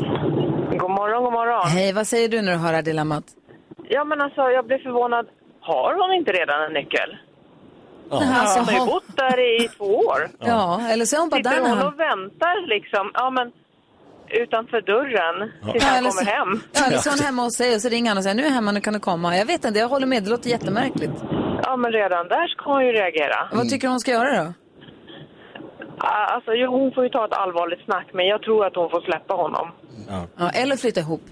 Speaker 11: God morgon, god morgon.
Speaker 1: Hej, vad säger du när du hör det här dilemmat?
Speaker 11: Ja, men alltså jag blev förvånad. Har hon inte redan en nyckel?
Speaker 1: Ja. Nej, alltså,
Speaker 11: hon har ju
Speaker 1: har-
Speaker 11: bott där i två år.
Speaker 1: Ja. Ja, eller så är hon bara
Speaker 11: Sitter
Speaker 1: där när
Speaker 11: hon
Speaker 1: han-
Speaker 11: och väntar liksom, ja men utanför dörren
Speaker 1: Ja.
Speaker 11: tills han
Speaker 1: eller
Speaker 11: kommer
Speaker 1: så-
Speaker 11: hem.
Speaker 1: Ja, eller så är hon hemma hos sig och så ringer han och säger nu är jag hemma, nu kan du komma. Jag vet inte, jag håller med, det låter jättemärkligt.
Speaker 11: Ja, men redan där ska hon ju reagera.
Speaker 1: Vad tycker du hon ska göra då?
Speaker 11: Ah, Alltså, jo, hon får ju ta ett allvarligt snack, men jag tror att hon får släppa honom.
Speaker 1: Ja, eller flytta ihop.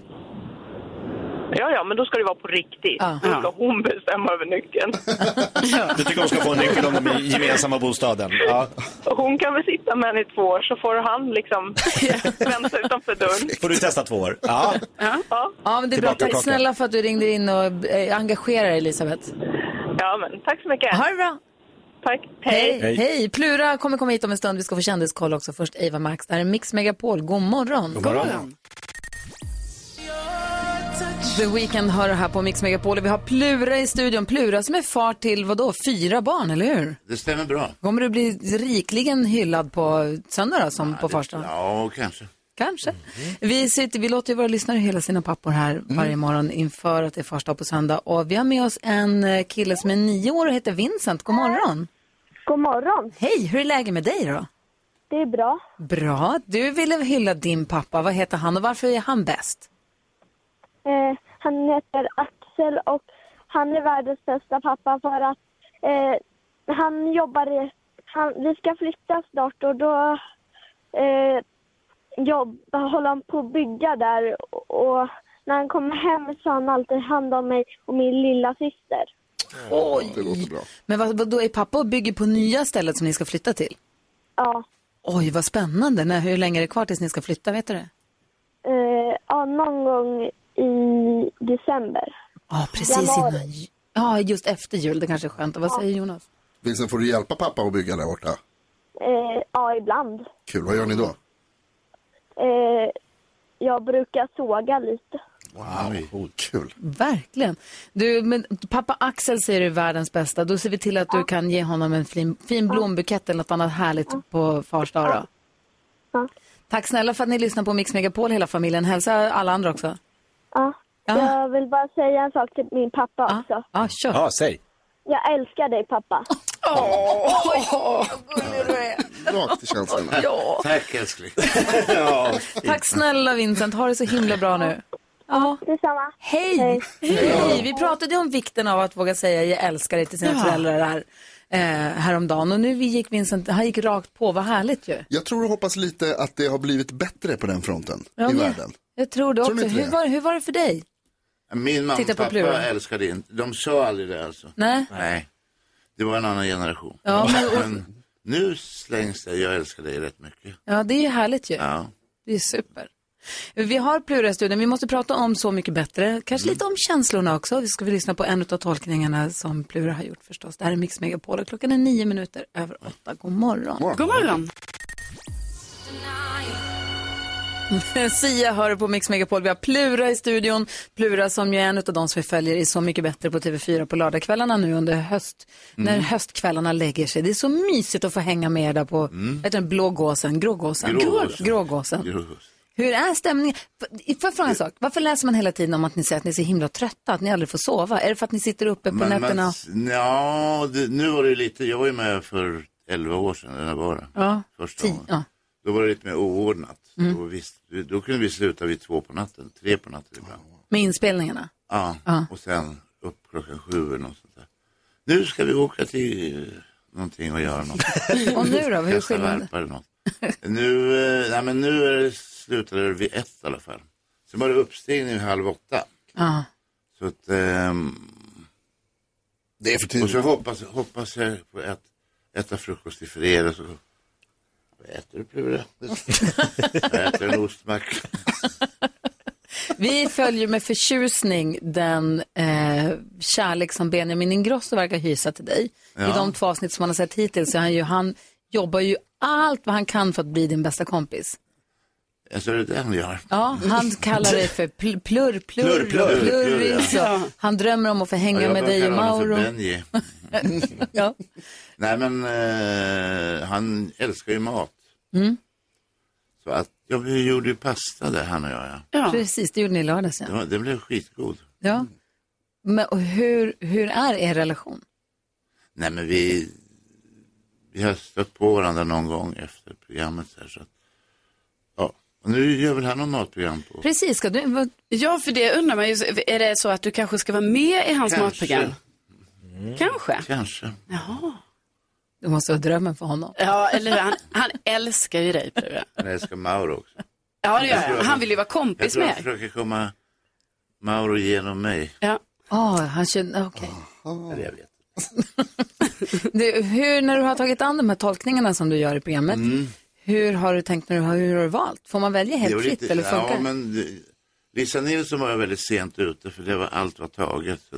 Speaker 11: Ja, ja, men då ska det vara på riktigt. Då ska hon bestämma över nyckeln.
Speaker 2: Du tycker hon ska få en nyckel om de är i gemensamma bostaden? Ja.
Speaker 11: Och hon kan väl sitta med henne i två år så får han liksom vänta utanför dörren.
Speaker 2: Får du testa två år? Ja.
Speaker 11: Ja,
Speaker 1: ja men det är bra.
Speaker 2: Tillbaka
Speaker 1: Tack
Speaker 2: kakan.
Speaker 1: snälla för att du ringde in och eh, engagerar dig, Elisabeth.
Speaker 11: Ja, men tack så mycket.
Speaker 1: Ha det bra.
Speaker 11: Tack.
Speaker 1: Hej.
Speaker 11: Hej.
Speaker 1: Hej. Plura kommer komma hit om en stund. Vi ska få kändiskoll också. Först Eva Max. Det här är Mix Megapol. God morgon.
Speaker 2: God morgon.
Speaker 1: The Weeknd hör här på Mix Megapol. Och Vi har Plura i studion. Plura som är far till vadå? Fyra barn, eller hur?
Speaker 9: Det stämmer bra.
Speaker 1: Kommer du bli rikligen hyllad på söndag då, som på första?
Speaker 9: Ja, kanske.
Speaker 1: Kanske.
Speaker 5: Mhm.
Speaker 1: Vi, sitter, vi låter ju våra lyssnare hylla sina pappor här
Speaker 5: Mm.
Speaker 1: varje morgon inför att det är första på söndag. Och vi har med oss en eh, kille som är nio år och heter Vincent. God morgon.
Speaker 12: God morgon.
Speaker 1: Hej, hur är läget med dig då?
Speaker 12: Det är bra.
Speaker 1: Bra. Du ville hylla din pappa. Vad heter han och varför är han bäst?
Speaker 12: Eh, han heter Axel och han är världens bästa pappa för att eh, han jobbar i... Han, vi ska flytta snart och då eh, jobb, håller han på att bygga där och när han kommer hem så har han alltid hand om mig och min lilla syster.
Speaker 1: Oj.
Speaker 5: Det låter bra.
Speaker 1: Men vad, vad då är pappa och bygger på nya stället som ni ska flytta till?
Speaker 12: Ja.
Speaker 1: Oj, vad spännande. När, hur länge är det kvar tills ni ska flytta, vet du det?
Speaker 12: Eh, ja, någon gång i december.
Speaker 1: Ja, precis
Speaker 12: Januari.
Speaker 1: innan. ju- Ja, just efter jul. Det kanske är skönt. Och Vad säger Jonas?
Speaker 5: Vincent, får du hjälpa pappa att bygga där borta?
Speaker 12: Eh, ja, ibland.
Speaker 5: Kul, vad gör ni då?
Speaker 12: Eh, jag brukar såga lite.
Speaker 5: Wow, kul.
Speaker 1: Verkligen. Du, men pappa Axel säger du är världens bästa. Då ser vi till att du kan ge honom en fin, fin blombukett eller något annat härligt på fars dag då. Tack snälla för att ni lyssnar på Mix Megapol hela familjen. Hälsa alla andra också.
Speaker 12: Ja. Jag vill bara säga en sak till min pappa också.
Speaker 1: Ja, kör.
Speaker 2: Ja, säg.
Speaker 12: Jag älskar dig pappa.
Speaker 5: Rakt i känslorna.
Speaker 1: Ja.
Speaker 9: Tack älskling.
Speaker 1: Tack snälla Vincent. Ha det så himla bra nu. Ja.
Speaker 12: Detsamma.
Speaker 1: Hej! Hej! Vi pratade om vikten av att våga säga jag älskar dig till sina
Speaker 5: Ja.
Speaker 1: föräldrar här, eh, häromdagen. Och nu gick Vincent, han gick rakt på. Vad härligt ju.
Speaker 5: Jag tror och hoppas lite att det har blivit bättre på den fronten
Speaker 1: Ja,
Speaker 5: i
Speaker 1: men-
Speaker 5: världen.
Speaker 1: Jag tror det
Speaker 9: Tror ni
Speaker 1: också.
Speaker 9: inte det?
Speaker 1: Hur var, hur var det för dig?
Speaker 9: Min mamma
Speaker 1: Titta
Speaker 9: och
Speaker 1: på
Speaker 9: pappa
Speaker 1: Plura.
Speaker 9: älskade inte, de sa aldrig det alltså.
Speaker 1: Nej.
Speaker 9: Nej, det var en annan generation.
Speaker 1: Ja, men-
Speaker 9: men nu slängs det, jag älskar dig rätt mycket.
Speaker 1: Ja, det är ju härligt ju.
Speaker 9: Ja.
Speaker 1: Det är super. Vi har Plura i studion. Vi måste prata om Så mycket bättre. Kanske lite om känslorna också. Vi ska väl lyssna på en av tolkningarna som Plura har gjort förstås. Det här är Mix Megapol och klockan är nio minuter över åtta. God morgon.
Speaker 4: God morgon.
Speaker 1: Sia hör du på Mix Megapol. Vi har Plura i studion. Plura som ju är en av de som vi följer i Så mycket bättre på TV4 på lördagskvällarna nu under höst.
Speaker 7: Mm.
Speaker 1: När höstkvällarna lägger sig. Det är så mysigt att få hänga med er där på, mm. heter den, blågåsen, grågåsen.
Speaker 7: Grågåsen.
Speaker 1: grågåsen. Hur är stämningen? F- Får jag fråga en sak? Varför läser man hela tiden om att ni säger att ni är så himla trötta, att ni aldrig får sova? Är det för att ni sitter uppe på nätterna?
Speaker 9: Men, ja, det, nu var det ju lite, jag var ju med för 11 år sedan, eller var det?
Speaker 1: Ja,
Speaker 9: Första
Speaker 1: ti-
Speaker 9: gången.
Speaker 1: ja.
Speaker 9: Då var det lite mer oordnat.
Speaker 1: Mm.
Speaker 9: Då, visst, då kunde vi sluta vid två på natten, tre på natten ibland.
Speaker 1: Med inspelningarna?
Speaker 9: Ja,
Speaker 1: Ja.
Speaker 9: och sen upp klockan sju eller något sånt där. Nu ska vi åka till eh, någonting och göra något.
Speaker 1: Och nu då? Hur är
Speaker 9: Kasta
Speaker 1: skillnaden?
Speaker 9: valpar eller något. Nu, eh, nej, men nu är det, slutade det vid ett i alla fall. Sen var det uppstigning vid halv åtta.
Speaker 1: Ja.
Speaker 9: Så att, ehm,
Speaker 5: det är för tidigt.
Speaker 9: Och så hoppas, hoppas jag på att äta frukost i fredag. Så... Vad äter du Plura? jag äter en ostmacka.
Speaker 1: Vi följer med förtjusning den eh, kärlek som Benjamin Ingrosso verkar hysa till dig. I
Speaker 9: Ja.
Speaker 1: de två avsnitt som han har sett hittills så är han, ju, han jobbar ju allt vad han kan för att bli din bästa kompis.
Speaker 9: Alltså det är det han gör.
Speaker 1: Ja, han kallar dig för pl- plurr, plurr,
Speaker 9: Plurr, plurr,
Speaker 1: plurris.
Speaker 9: plurr, ja.
Speaker 1: och Han drömmer om att få
Speaker 9: Ja,
Speaker 1: hänga
Speaker 9: jag
Speaker 1: med
Speaker 9: börjar
Speaker 1: dig och
Speaker 9: kalla honom för
Speaker 1: Mauro.
Speaker 9: Benji.
Speaker 1: ja.
Speaker 9: Nej men eh, han älskar ju mat.
Speaker 1: Mm.
Speaker 9: Så att, ja, vi gjorde ju pasta där han och jag. Ja.
Speaker 1: Precis, det gjorde ni i lördags. Ja.
Speaker 9: Det, var, det blev skitgod.
Speaker 1: Ja. Men och hur, hur är er relation?
Speaker 9: Nej men vi, vi har stött på varandra någon gång efter programmet. Så här, så att, ja. Och nu gör väl han något matprogram på
Speaker 1: Precis, ska du...
Speaker 4: Ja, för det undrar man ju. Är det så att du kanske ska vara med i hans
Speaker 9: Kanske. Mm.
Speaker 4: matprogram? Kanske.
Speaker 9: Kanske.
Speaker 4: Jaha.
Speaker 1: Det måste vara drömmen för honom.
Speaker 4: Ja, eller hur? han, han älskar ju dig, Plura.
Speaker 9: Han älskar Mauro också.
Speaker 4: Ja, det
Speaker 9: Jag
Speaker 4: gör
Speaker 9: tror
Speaker 4: han.
Speaker 9: att-
Speaker 4: Han vill ju vara
Speaker 9: Jag
Speaker 4: kompis
Speaker 9: tror
Speaker 4: med
Speaker 9: han
Speaker 4: er.
Speaker 9: försöker komma Mauro genom mig.
Speaker 4: Ja.
Speaker 1: Ah, han känner, okej.
Speaker 9: Eller jag vet.
Speaker 1: Du, Hur, när du har tagit an de här tolkningarna som du gör i programmet, hur har du tänkt när du har, hur har du valt? Får man välja
Speaker 9: Mm. Det
Speaker 1: helt
Speaker 9: var
Speaker 1: fritt
Speaker 9: lite-
Speaker 1: eller funkar
Speaker 9: Ja, men det- Lisa Nilsson var jag väldigt sent ute för det var allt var taget. Så,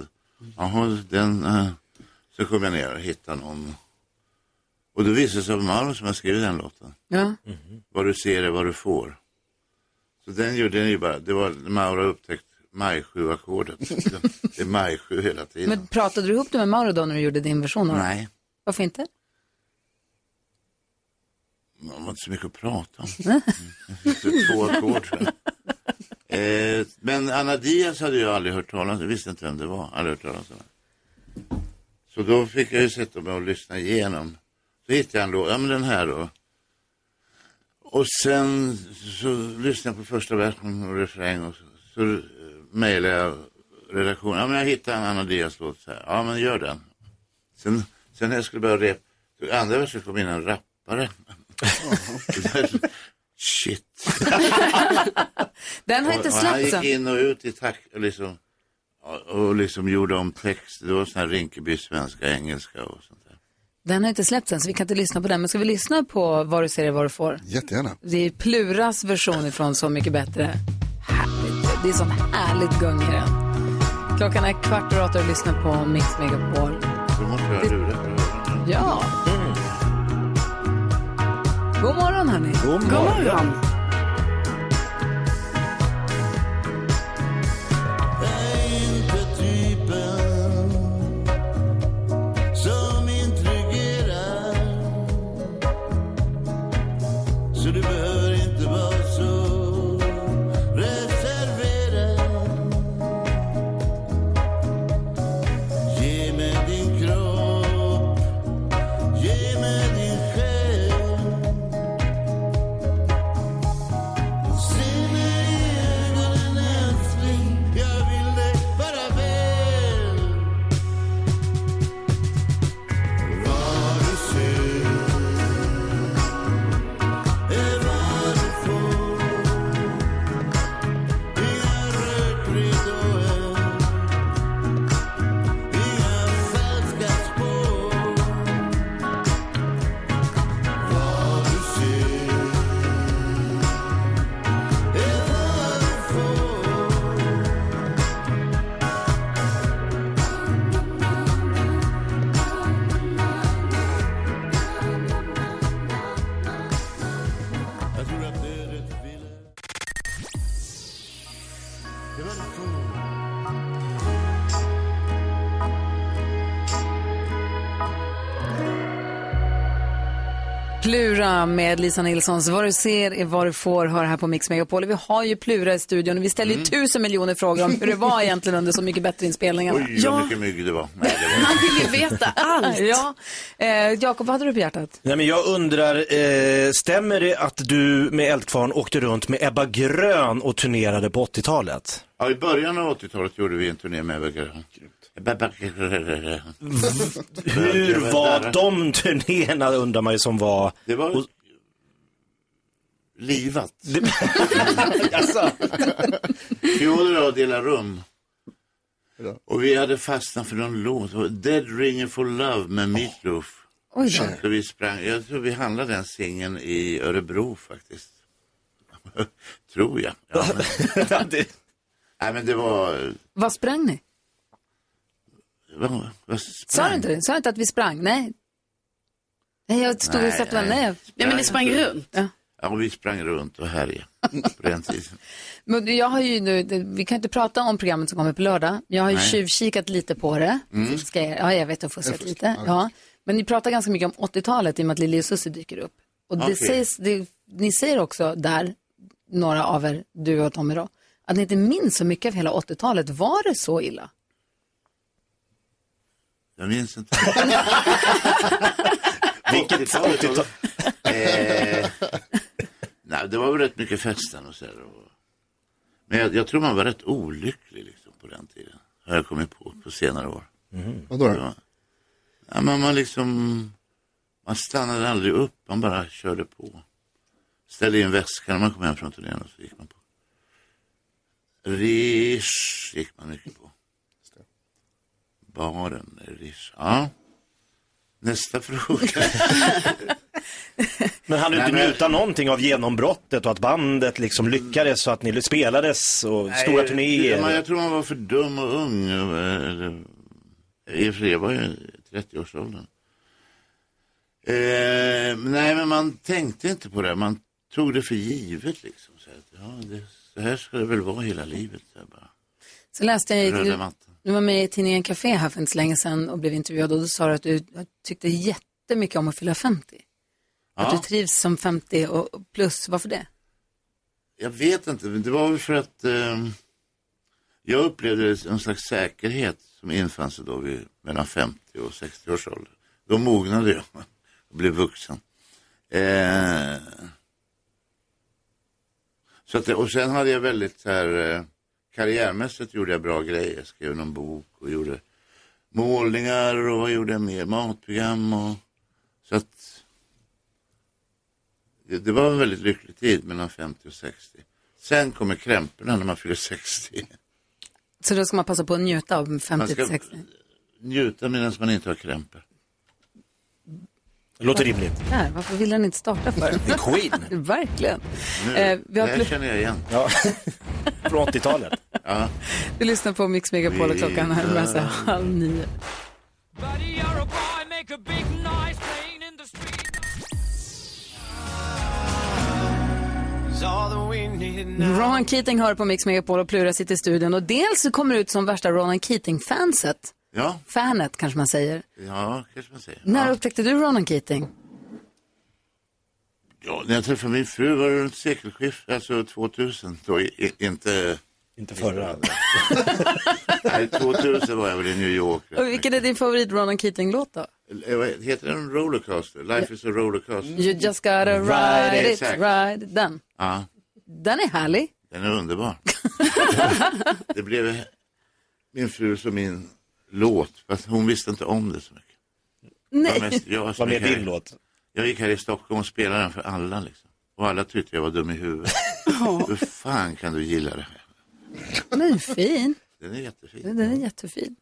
Speaker 9: Jaha, den... eh, Så kom jag ner och hittade någon. Och då visade det sig att Malm som har skrivit den låten.
Speaker 1: Ja.
Speaker 9: Vad du ser är vad du får. Så den gjorde den ju bara, det var Mauro upptäckt majsjuackordet. det är majsju hela tiden.
Speaker 1: Men pratade du ihop det med Mauro då när du gjorde din version? av den?
Speaker 9: Nej,
Speaker 1: Varför inte?
Speaker 9: man har inte så mycket att prata om. Mm. Det är Två ackord. tror jag. Eh, men Anna Diaz hade jag aldrig hört talas om. Jag visste inte vem det var. Aldrig hört talas om. henne. Så då fick jag ju sätta mig och lyssna igenom. Så hittade jag en låt. Ja, men den här då. Och sen så lyssnade jag på första versen och refräng och så, så eh, mejlade jag redaktionen. Ja, men jag hittade en Anna Diaz låt så här. Ja, men gör den. Sen, sen när jag skulle börja repa, andra versen kom in en rappare. Shit.
Speaker 1: Den har
Speaker 9: Och-
Speaker 1: inte
Speaker 9: och Han
Speaker 1: släppts
Speaker 9: gick
Speaker 1: än.
Speaker 9: in och ut i tack och liksom, och, och liksom gjorde om text. Det var sån här Rinkeby svenska, engelska och sånt.
Speaker 1: Den har inte släppts än, så vi kan inte lyssna på den. Men ska vi lyssna på vad du ser är vad du får?
Speaker 9: Jättegärna.
Speaker 1: Det är Pluras version ifrån Så mycket bättre. Härligt. Det är sånt härligt gung i den. Klockan är kvart över åtta och du lyssnar på Mix Megapol.
Speaker 9: Då måste jag ha lurat.
Speaker 1: Ja. God morgon, hörni.
Speaker 9: God God morgon. morgon.
Speaker 7: Som intrigerar Så du behöver inte vara så reserverad Ge mig din kropp Ge mig din själ Se mig i ögonen älskling Jag vill dig bara väl Vad du ser är vad du får. Inga rökridåer, inga falska spår. Vad du ser är vad du får. Jag tror att det är rätt ville. Det var en cool.
Speaker 1: Plura med Lisa Nilssons Vad du ser är vad du får hör här på Mix Megapol. Vi har ju Plura i studion och vi
Speaker 9: Mm.
Speaker 1: ställer ju tusen miljoner frågor om hur det var egentligen under Så mycket bättre-inspelningarna.
Speaker 9: Oj, vad mycket mygg det var. Nej, det var...
Speaker 4: Man vill ju veta allt.
Speaker 1: ja. eh, Jakob, vad hade du på hjärtat?
Speaker 2: Nej, men jag undrar, eh, stämmer det att du med Eldkvarn åkte runt med Ebba Grön och turnerade på 80-talet?
Speaker 9: Ja, I början av 80-talet gjorde vi en turné med Ebba Grön. Ebba Grön. Jag
Speaker 2: Hur
Speaker 9: vet
Speaker 2: var
Speaker 9: inte.
Speaker 2: de turnéerna undrar man ju som var...
Speaker 9: Det var livat.
Speaker 2: Jaså?
Speaker 9: Fioler och dela rum. Och vi hade fastnat för någon låt. Det var Dead Ringer for Love med Meatloaf.
Speaker 1: Oj
Speaker 7: då.
Speaker 9: Så vi sprang, jag tror vi handlade den singeln i Örebro faktiskt. tror jag. Ja, men... Nej men det var...
Speaker 1: Vad sprang ni?
Speaker 9: Vad, vad
Speaker 1: Sa du inte det? Sa du inte att vi sprang? Nej. Nej, jag stod och
Speaker 9: Nej,
Speaker 1: satt och var
Speaker 9: nej.
Speaker 1: nej.
Speaker 9: Nej, men ni sprang runt.
Speaker 1: Ja.
Speaker 9: Ja, vi sprang runt och härjade på den tiden.
Speaker 1: Men jag har ju nu, det- vi kan inte prata om programmet som kommer på lördag. Jag har ju
Speaker 9: Nej.
Speaker 1: tjuvkikat lite på det.
Speaker 9: Mm.
Speaker 1: Ska jag, ja, jag vet, jag får
Speaker 9: Jag
Speaker 1: se
Speaker 9: får-
Speaker 1: lite.
Speaker 9: ja.
Speaker 1: Ja. Men ni pratar ganska mycket om 80-talet i och med att Lili och Susie dyker upp. Och det
Speaker 9: Okej.
Speaker 1: sägs, det, ni säger också där, några av er, du och Tommy då, att ni inte minns så mycket av hela 80-talet. Var det så illa?
Speaker 9: Jag minns inte. Vilket 80-tal? eh, nej, det var väl rätt mycket festen och så här. Och... Men jag, jag tror man var rätt olycklig liksom, på den tiden. Har jag kommit på på senare år.
Speaker 5: Vadå
Speaker 9: då? Ja, men man liksom, man stannade aldrig upp, man bara körde på. Ställde in väskan när man kom hem från turnén och så gick man på. Rish gick man mycket på. Baren, Rish. Ja. Nästa fråga.
Speaker 2: Men han du inte
Speaker 9: Nej, men-
Speaker 2: njuta någonting av genombrottet och att bandet liksom lyckades så att ni spelades och stora
Speaker 9: Nej,
Speaker 2: turnéer?
Speaker 9: Man, jag tror man var för dum och ung. eh, eller- I och för sig var jag i 30-årsåldern. Eh, nej, men man tänkte inte på det. Man tog det för givet. Liksom. Så, att, ja, det, så här ska det väl vara hela livet. Så här bara.
Speaker 1: Så läste jag,
Speaker 9: Röda
Speaker 1: du,
Speaker 9: mattan.
Speaker 1: du var med i tidningen Café här för inte så länge sedan och blev intervjuad och då sa du att du tyckte jättemycket om att fylla 50. Att
Speaker 9: Ja.
Speaker 1: du trivs som 50 och och plus, varför det?
Speaker 9: Jag vet inte, men det var väl för att eh, jag upplevde en slags säkerhet som infann sig då vid mellan 50 och 60 års ålder. Då mognade jag och blev vuxen. Eh, så att, det- och sen hade jag väldigt så här, eh, karriärmässigt gjorde jag bra grejer. Jag skrev någon bok och gjorde målningar och vad gjorde jag mer? Matprogram och så att det, det var en väldigt lycklig tid mellan 50 och 60. Sen kommer krämporna när man fyller 60.
Speaker 1: Så då ska man passa på att njuta av
Speaker 9: Man
Speaker 1: 50-60.
Speaker 9: ska njuta medan man inte har krämpor.
Speaker 2: Det låter rimligt.
Speaker 1: Där, varför vill den inte starta för?
Speaker 9: Queen.
Speaker 1: Verkligen.
Speaker 9: Nu,
Speaker 1: Eh, vi har
Speaker 9: det här
Speaker 1: plu-
Speaker 9: känner jag igen.
Speaker 2: Ja. Från 80-talet.
Speaker 9: Ja.
Speaker 1: Du lyssnar på Mix Megapol och klockan närmar sig halv nio. Ronan Keating hör på Mix Megapol och Plura sitter i studion och dels så kommer du ut som värsta Ronan Keating-fanset.
Speaker 9: Ja,
Speaker 1: Fanet kanske man säger.
Speaker 9: ja, kanske man säger.
Speaker 1: När upptäckte du Ronan Keating?
Speaker 9: Ja, när jag träffade min fru var det runt sekelskiftet, alltså 2000. Då, i, i, inte... Inte förra. Nej, 2000 var jag väl i New York.
Speaker 1: Och vilken är din favorit Ronan Keating-låt då?
Speaker 9: Eh, vad Heter den rollercoaster? Life is a rollercoaster.
Speaker 1: You just gotta ride it,
Speaker 9: Mm. Exakt.
Speaker 1: ride it. Den.
Speaker 9: Ja,
Speaker 1: Den är härlig.
Speaker 9: den är underbar. det blev min frus och min låt, fast hon visste inte om det så mycket. Det var
Speaker 1: Nej.
Speaker 9: mest jag som
Speaker 2: Vad
Speaker 9: gick
Speaker 2: blev
Speaker 9: här
Speaker 2: din
Speaker 9: i-
Speaker 2: låt?
Speaker 9: Jag gick här i Stockholm och spelade den för alla. Liksom. Och alla tyckte jag var dum i huvudet. Hur fan kan du gilla det här?
Speaker 1: Den är fin.
Speaker 9: Den är jättefin.
Speaker 1: Den är jättefin.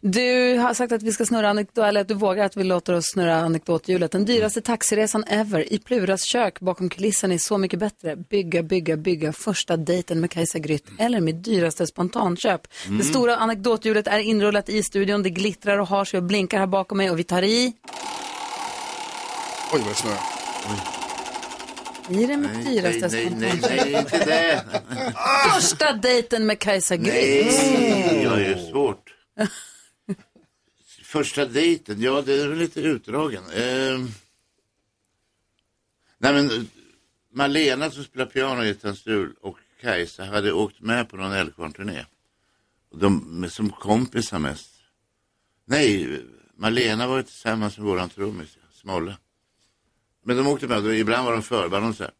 Speaker 1: Du har sagt att vi ska snurra anekdot, eller att du vågar att vi låter oss snurra anekdothjulet. Den dyraste taxiresan ever i Pluras kök bakom kulisserna är Så mycket bättre. Bygga, bygga, bygga första dejten med Kajsa Grytt eller mitt dyraste spontanköp.
Speaker 7: Mm.
Speaker 1: Det stora anekdothjulet är inrullat i studion. Det glittrar och har sig och blinkar här bakom mig och vi tar i.
Speaker 5: Oj, vad det snöar.
Speaker 1: I det mitt
Speaker 5: Nej,
Speaker 1: dyraste
Speaker 5: nej, nej,
Speaker 1: spontanköp.
Speaker 5: nej, nej, inte det.
Speaker 1: Första dejten med Kajsa Grytt.
Speaker 9: Nej, jag är svårt. Första dejten, ja det är väl lite utdragen. Ehm. Nej men eh, Malena som spelar piano i Utan Stul och Kajsa hade åkt med på någon Älvkvarn-turné. Och De, med- som kompisar mest. Nej, Malena var ju tillsammans med våran trummis, Smolle. Men de åkte med, och ibland var de förband och så här.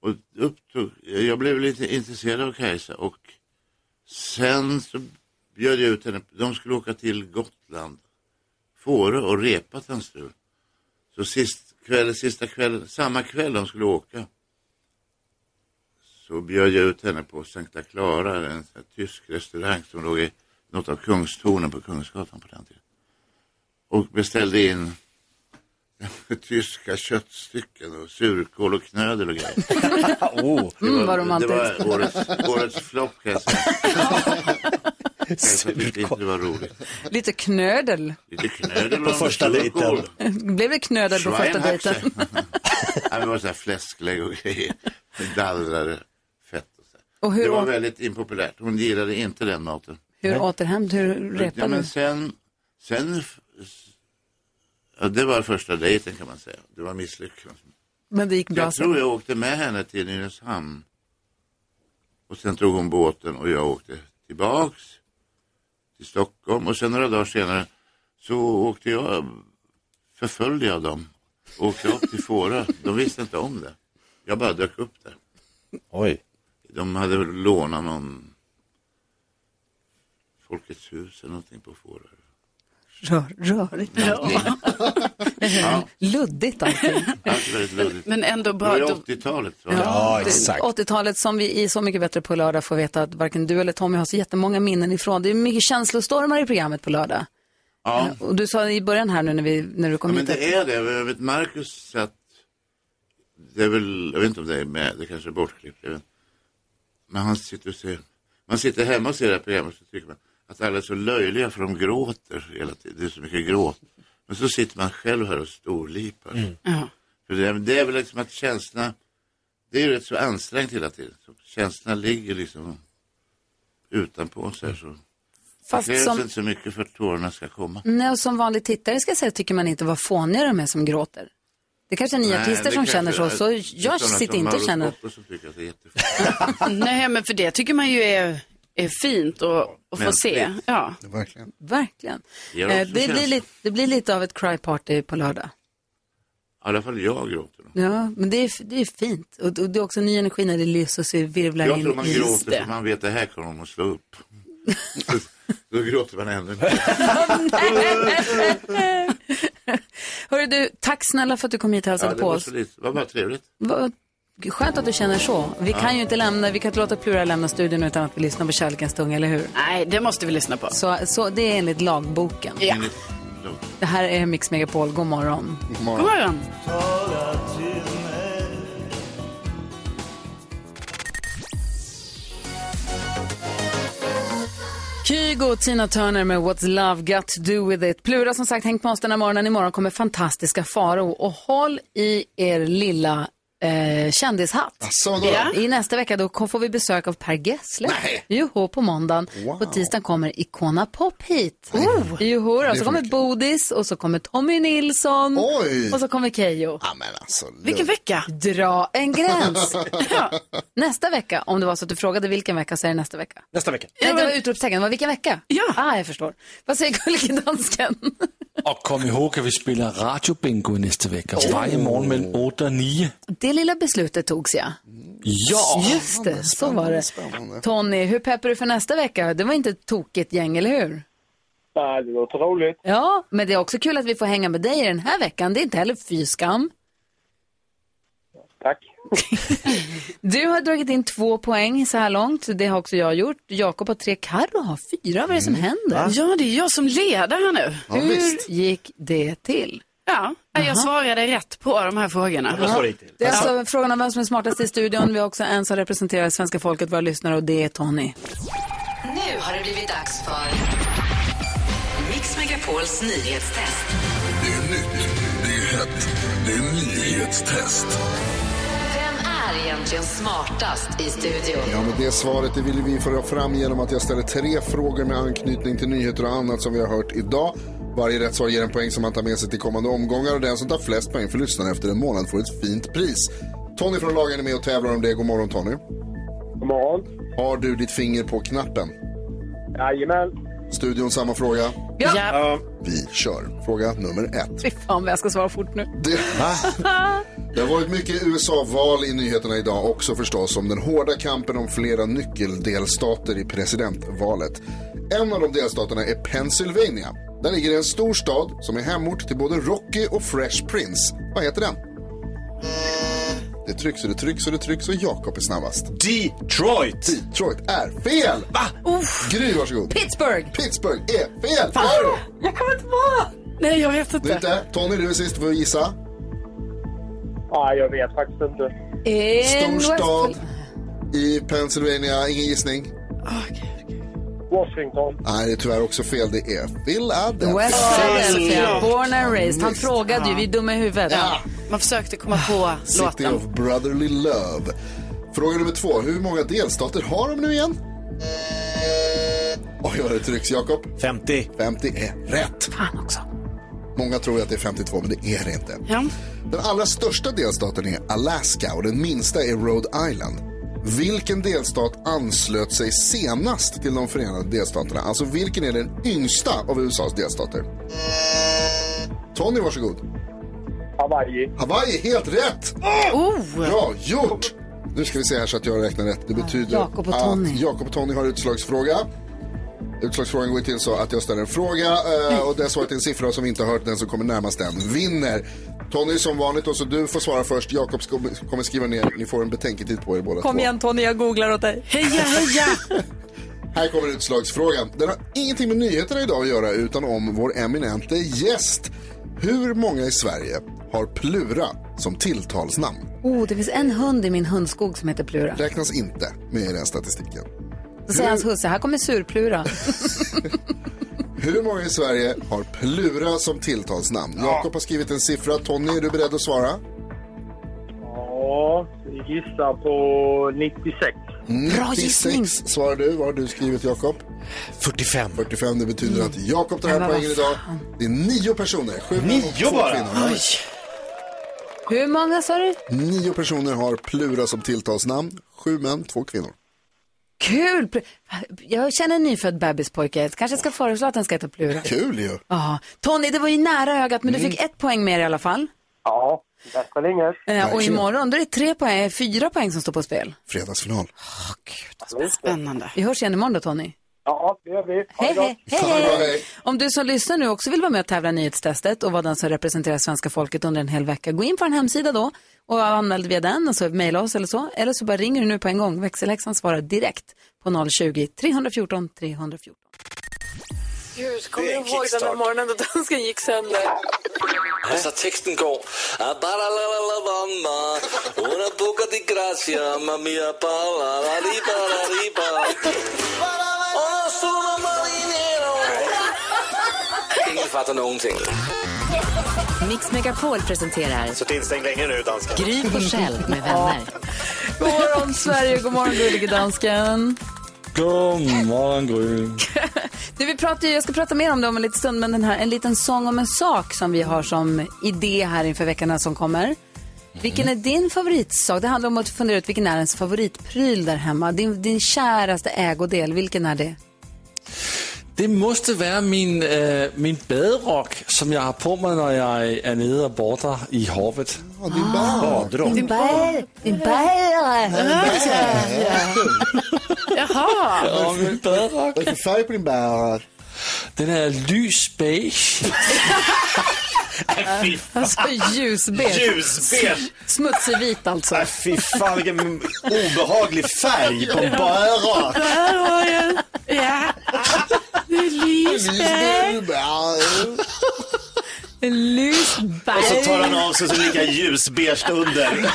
Speaker 9: Och upptog, jag blev lite intresserad av Kajsa och Sen så bjöd jag ut henne. De skulle åka till Gotland, Fårö och repa Tennstul. Så sist kväll, sista kvällen, samma kväll de skulle åka så bjöd jag ut henne på Sankta Clara, en sån här tysk restaurang som låg i något av Kungstornen på Kungsgatan på den tiden. Och beställde in tyska köttstycken och surkål och knödel och grejer. Det
Speaker 1: Mm, vad
Speaker 9: var, det
Speaker 1: romantiskt.
Speaker 9: var årets, årets flopp kan jag säga. Kanske tyckte inte det var roligt.
Speaker 1: Mm. Lite knödel.
Speaker 9: Lite knödel
Speaker 2: På
Speaker 9: och
Speaker 2: första
Speaker 9: surkål.
Speaker 2: dejten.
Speaker 1: Blev det knödel på första
Speaker 9: Schweinhaxe.
Speaker 1: dejten?
Speaker 9: Ja, det var så här fläsklägg och grejer. Dallrade fett och så. här.
Speaker 1: Och hur
Speaker 9: det var
Speaker 1: åt-
Speaker 9: väldigt impopulärt. Hon gillade inte den maten.
Speaker 1: Hur återhämnd, hur
Speaker 9: ja,
Speaker 1: repade du?
Speaker 9: men sen, sen f- s- ja, det var första dejten kan man säga. Det var misslyckat.
Speaker 1: Men det gick bra
Speaker 9: Jag tror jag åkte med henne till Nynäshamn. Och sen tog hon båten och jag åkte tillbaks till Stockholm. Och sen några dagar senare så åkte jag, förföljde jag dem. Och åkte upp till Fårö. De visste inte om det. Jag bara dök upp där.
Speaker 2: Oj.
Speaker 9: De hade väl lånat någon Folkets hus eller någonting på Fårö.
Speaker 1: rör, rörigt. Luddigt allting.
Speaker 9: Allt är väldigt luddigt.
Speaker 4: Men ändå bra
Speaker 9: Det var ju
Speaker 4: att
Speaker 9: 80-talet. va?
Speaker 2: Ja, exakt.
Speaker 1: 80-talet som vi i Så mycket bättre på lördag får veta att varken du eller Tommy har så jättemånga minnen ifrån. Det är mycket känslostormar i programmet på lördag.
Speaker 9: Ja.
Speaker 1: Eh, Och du sa i början här nu när, vi, när du kom
Speaker 9: Ja, men
Speaker 1: hit att-
Speaker 9: det är det. Jag vet Marcus satt, det är väl, jag vet inte om det är med, det kanske är bortklippt. jag vet inte. Men han sitter och ser, man sitter hemma och ser det här programmet så tycker man att alla är så löjliga för de gråter hela tiden. Det är så mycket gråt. Men så sitter man själv här och storlipar. För det, det är väl liksom att känslorna, det är ju rätt så ansträngt hela tiden. Så känslorna ligger liksom utanpå så här. Så.
Speaker 1: Fast
Speaker 9: det krävs
Speaker 1: som-
Speaker 9: inte så mycket för att tårarna ska komma.
Speaker 1: Nej, och som vanlig tittare ska jag säga tycker man inte vad fåniga de är som gråter. Det kanske är ni
Speaker 9: Nej,
Speaker 1: artister
Speaker 9: det
Speaker 1: som
Speaker 9: kanske
Speaker 1: känner så,
Speaker 9: är-
Speaker 1: så
Speaker 9: det är sådana
Speaker 1: jag sitter
Speaker 9: som
Speaker 1: inte och
Speaker 9: Mauro
Speaker 1: känner.
Speaker 9: Scocco som tycker att det är jättefint.
Speaker 4: Nej, men för det tycker man ju är, är fint att, att få se.
Speaker 9: Mänskligt.
Speaker 4: Ja.
Speaker 9: Verkligen.
Speaker 1: Verkligen.
Speaker 9: Ger
Speaker 1: Eh,
Speaker 9: också
Speaker 1: Det blir,
Speaker 9: känsla.
Speaker 1: lite, det blir lite av ett cry party på lördag.
Speaker 9: I alla fall jag gråter. då.
Speaker 1: Ja, men det är, det är fint. Och, och det är också ny energi när det lyser och så virvlar
Speaker 9: Jag
Speaker 1: in
Speaker 9: tror man
Speaker 1: i
Speaker 9: gråter
Speaker 1: det.
Speaker 9: för man vet det här kommer de att slå upp. Då gråter man ännu mer.
Speaker 1: Hörru du, tack snälla för att du kom hit och hälsade
Speaker 9: Ja, det
Speaker 1: på
Speaker 9: var
Speaker 1: oss.
Speaker 9: så lite. Det var bara trevligt.
Speaker 1: Vad skönt att du känner så. Vi
Speaker 9: Ja.
Speaker 1: kan ju inte lämna, vi kan inte låta Plura lämna studion utan att vi lyssnar på Kärlekens tunga, eller hur?
Speaker 4: Nej, det måste vi lyssna på.
Speaker 1: Så, så det är enligt lagboken.
Speaker 9: Enligt-
Speaker 1: Det här är Mix Megapol, god morgon.
Speaker 9: God
Speaker 4: God morgon.
Speaker 1: Kygo och Tina Turner med What's Love Got To Do With It. Plura som sagt hängt med oss den här morgonen. Imorgon kommer fantastiska Faro och håll i er lilla eh, kändishatt.
Speaker 5: vadå då? Ja.
Speaker 1: I nästa vecka då kom- får vi besök av Per Gessle. Nej. Joho på måndagen.
Speaker 5: Wow.
Speaker 1: På tisdagen kommer Icona Pop hit. Oh. Joho,
Speaker 5: Det är
Speaker 1: och
Speaker 5: för
Speaker 1: så kommer Bodis och så kommer Tommy Nilsson.
Speaker 5: Oj.
Speaker 1: Och så kommer Keyyo.
Speaker 5: Alltså,
Speaker 1: Vilken
Speaker 4: vecka?
Speaker 1: Dra en gräns. ja. Nästa vecka, om det var så att du frågade vilken vecka, så är det nästa vecka.
Speaker 2: Nästa vecka.
Speaker 1: Nej, det var utropstecken. Det var vilken vecka? Ja. Ah, jag förstår. Vad säger gullige dansken?
Speaker 6: Og kom ihåg at vi spiller radiobingo i næste vecka.
Speaker 1: Oh.
Speaker 6: Varje morgen mellem 8 og 9.
Speaker 1: Det lilla beslutet togs, ja.
Speaker 6: Ja!
Speaker 1: Just det, så var det. Tony, hur peppar du för nästa vecka? Det var inte ett tokigt gäng, eller hur?
Speaker 13: Nej,
Speaker 8: Äh,
Speaker 13: det låter roligt.
Speaker 1: Ja, men det är också kul att vi får hänga med dig i den här veckan. Det är inte heller fy skam.
Speaker 13: Tack.
Speaker 1: Du har dragit in två poäng så här långt. Det har också jag gjort. Jakob har tre, Carro har fyra. Vad är det som händer?
Speaker 4: Ja, det är jag som leder här nu.
Speaker 1: Mm. Ja, Hur visst. gick det till?
Speaker 4: Ja, jag
Speaker 1: Jaha.
Speaker 4: svarade rätt på de här frågorna.
Speaker 1: Det är alltså frågan om vem som är smartast i studion. Vi har också en som representerar svenska folket, våra lyssnare, och det är Tony.
Speaker 3: Nu har det blivit dags för Mix Megapols nyhetstest.
Speaker 14: Det är nytt, det är hett, det är nyhetstest.
Speaker 3: Vem är egentligen smartast i studion?
Speaker 5: Ja, men det svaret det vill vi föra fram genom att jag ställer tre frågor med anknytning till nyheter och annat som vi har hört idag. Varje rätt svar ger en poäng som man tar med sig till kommande omgångar och den som tar flest poäng för lyssnarna efter en månad får ett fint pris. Tony från lagen är med och tävlar om det. God morgon Tony. God morgon. Har du ditt finger på knappen? Jajamän. Studion samma fråga?
Speaker 1: Ja. Ja.
Speaker 5: Vi kör. Fråga nummer ett.
Speaker 1: Fy fan vad jag ska svara fort nu.
Speaker 5: Det... Det har varit mycket USA-val i nyheterna idag också förstås om den hårda kampen om flera nyckeldelstater i presidentvalet. En av de delstaterna är Pennsylvania. Där ligger en stor stad som är hemort till både Rocky och Fresh Prince. Vad heter den? Det trycks och det trycks och det trycks och Jakob är snabbast. Detroit! Detroit är fel! Va? Gry, varsågod.
Speaker 1: Pittsburgh!
Speaker 5: Pittsburgh är fel! Fan.
Speaker 1: Jag kommer inte på!
Speaker 4: Nej, jag vet
Speaker 5: Du är inte. Tony, du är sist. Du får gissa.
Speaker 13: Ja, jag vet faktiskt inte.
Speaker 1: En
Speaker 5: Storstad i Pennsylvania, ingen gissning?
Speaker 13: Washington.
Speaker 5: Nej, det är tyvärr också fel. Det är Philadelphia.
Speaker 1: West Philadelphia,
Speaker 5: såklart.
Speaker 1: born and raised. Han
Speaker 5: Visst.
Speaker 1: frågade ju, vi är dumma i huvudet. Ah,
Speaker 4: Man försökte komma på
Speaker 5: City
Speaker 4: låten.
Speaker 5: of Brotherly Love. Fråga nummer två. Hur många delstater har de nu igen? Oj, vad det trycks, Jakob. 50. 50 är rätt.
Speaker 1: Fan också.
Speaker 5: Många tror ju att det är 52, men det är det inte.
Speaker 4: Ja.
Speaker 5: Den allra största delstaten är Alaska och den minsta är Rhode Island. Vilken delstat anslöt sig senast till de förenade delstaterna? Alltså vilken är den yngsta av USAs delstater? Tony, varsågod. Hawaii. Hawaii, helt rätt!
Speaker 1: Oh!
Speaker 5: Bra gjort! Nu ska vi se här så att jag räknar rätt. Det betyder
Speaker 1: Jakob och Tony.
Speaker 5: att Jakob och Tony har utslagsfråga. Utslagsfrågan går ju till så att jag ställer en fråga eh, och det svaret är en siffra som vi inte har hört. Den som kommer närmast den vinner. Tony, som vanligt, och så du får svara först. Jakob sk- kommer skriva ner. Ni får en betänketid på er båda
Speaker 1: Kom
Speaker 5: två.
Speaker 1: igen Tony, jag googlar åt dig.
Speaker 4: Heja, heja!
Speaker 5: Här kommer utslagsfrågan. Den har ingenting med nyheterna idag att göra utan om vår eminente gäst. Hur många i Sverige har Plura som tilltalsnamn?
Speaker 1: Oh, det finns en hund i min hundskog som heter Plura.
Speaker 5: Räknas inte med i den statistiken.
Speaker 1: Då säger hans husse, här kommer surplura.
Speaker 5: Hur många i Sverige har Plura som tilltalsnamn? Jakob har skrivit en siffra. Tony, är du beredd att svara?
Speaker 13: Ja, vi gissar på 96.
Speaker 5: 96 svarar du. Vad har du skrivit, Jakob? 45. 45, det betyder att Jakob tar
Speaker 1: Mm.
Speaker 5: hem
Speaker 1: Men vad
Speaker 5: poängen idag. Det är nio personer. Sju män och
Speaker 1: Nio
Speaker 5: två
Speaker 1: bara?
Speaker 5: kvinnor.
Speaker 1: Oj. Hur många sa du?
Speaker 5: Nio personer har Plura som tilltalsnamn. Sju män, två kvinnor.
Speaker 1: Kul! Pl- Jag känner en nyfödd bebispojke. Jag Kanske ska föreslå att den ska heta Plura.
Speaker 5: Kul ju.
Speaker 1: Ja. Tony, det var ju nära ögat, men du
Speaker 13: Mm.
Speaker 1: fick ett poäng mer i alla fall.
Speaker 13: Ja, bästa linjer.
Speaker 1: Eh, och imorgon då är det tre poäng, eh, fyra poäng som står på spel.
Speaker 5: Fredagsfinal.
Speaker 4: Spännande.
Speaker 1: Vi hörs igen imorgon då, Tony.
Speaker 13: Ja, det gör vi. Ha
Speaker 1: Hej,
Speaker 13: det
Speaker 1: hej,
Speaker 13: gott.
Speaker 1: hej, hej. Om du som lyssnar nu också vill vara med och tävla i nyhetstestet och vara den som representerar svenska folket under en hel vecka, gå in på en hemsida då och anmäl via den och så mejla oss eller så. Eller så bara ringer du nu på en gång. Växelhäxan svarar direkt på 020-314 314.
Speaker 7: Gud,
Speaker 1: kommer du ihåg den där morgonen då dansken gick sönder?
Speaker 7: Alltså texten går... "Ah, baralalalabamba, Una boca di grazia, mamma mia, balalariba, lariba. Oh, sono marinero. Ingen fattar någonting.
Speaker 15: Mix Megapol presenterar
Speaker 2: Suttit instängd länge nu, dansken.
Speaker 15: Gry Forssell med vänner.
Speaker 1: God morgon Sverige, god morgon gullige dansken.
Speaker 6: God morgon, Gry.
Speaker 1: Du, vi pratar, ju- jag ska prata mer om det om en liten stund, men den här, en liten sång om en sak som vi har som idé här inför veckorna som kommer. Vilken är din favoritsak? Det handlar om att fundera ut vilken är ens favoritpryl där hemma. Din, din käraste ägodel, vilken är det?
Speaker 6: Det måste vara min, äh, min baderock som jag har på mig när jag är nere och badar i Ah. havet.
Speaker 5: Ja, din badrock.
Speaker 1: Din bär, din bär.
Speaker 4: Jaha.
Speaker 6: Ja, min baderock. Vad är för färg på din baderock? Den är ljus beige.
Speaker 1: Alltså ljusbeige.
Speaker 2: Ljusbeige.
Speaker 1: Smutsig vit alltså.
Speaker 2: Nej, Äh, fy fan vilken obehaglig färg på en bärak.
Speaker 4: Ja. Det är
Speaker 1: Lysberg.
Speaker 2: Och så tar han av sig så ligger ljusbeige under.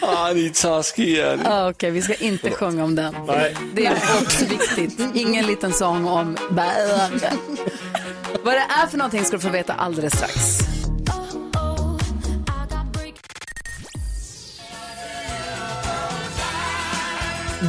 Speaker 6: ah, ni är taskiga. ni.
Speaker 1: Ah, Okej, vi ska inte sjunga om den.
Speaker 6: Nej.
Speaker 1: Det är också viktigt. Ingen liten sång om bärande. Vad det är för någonting ska du få veta alldeles strax.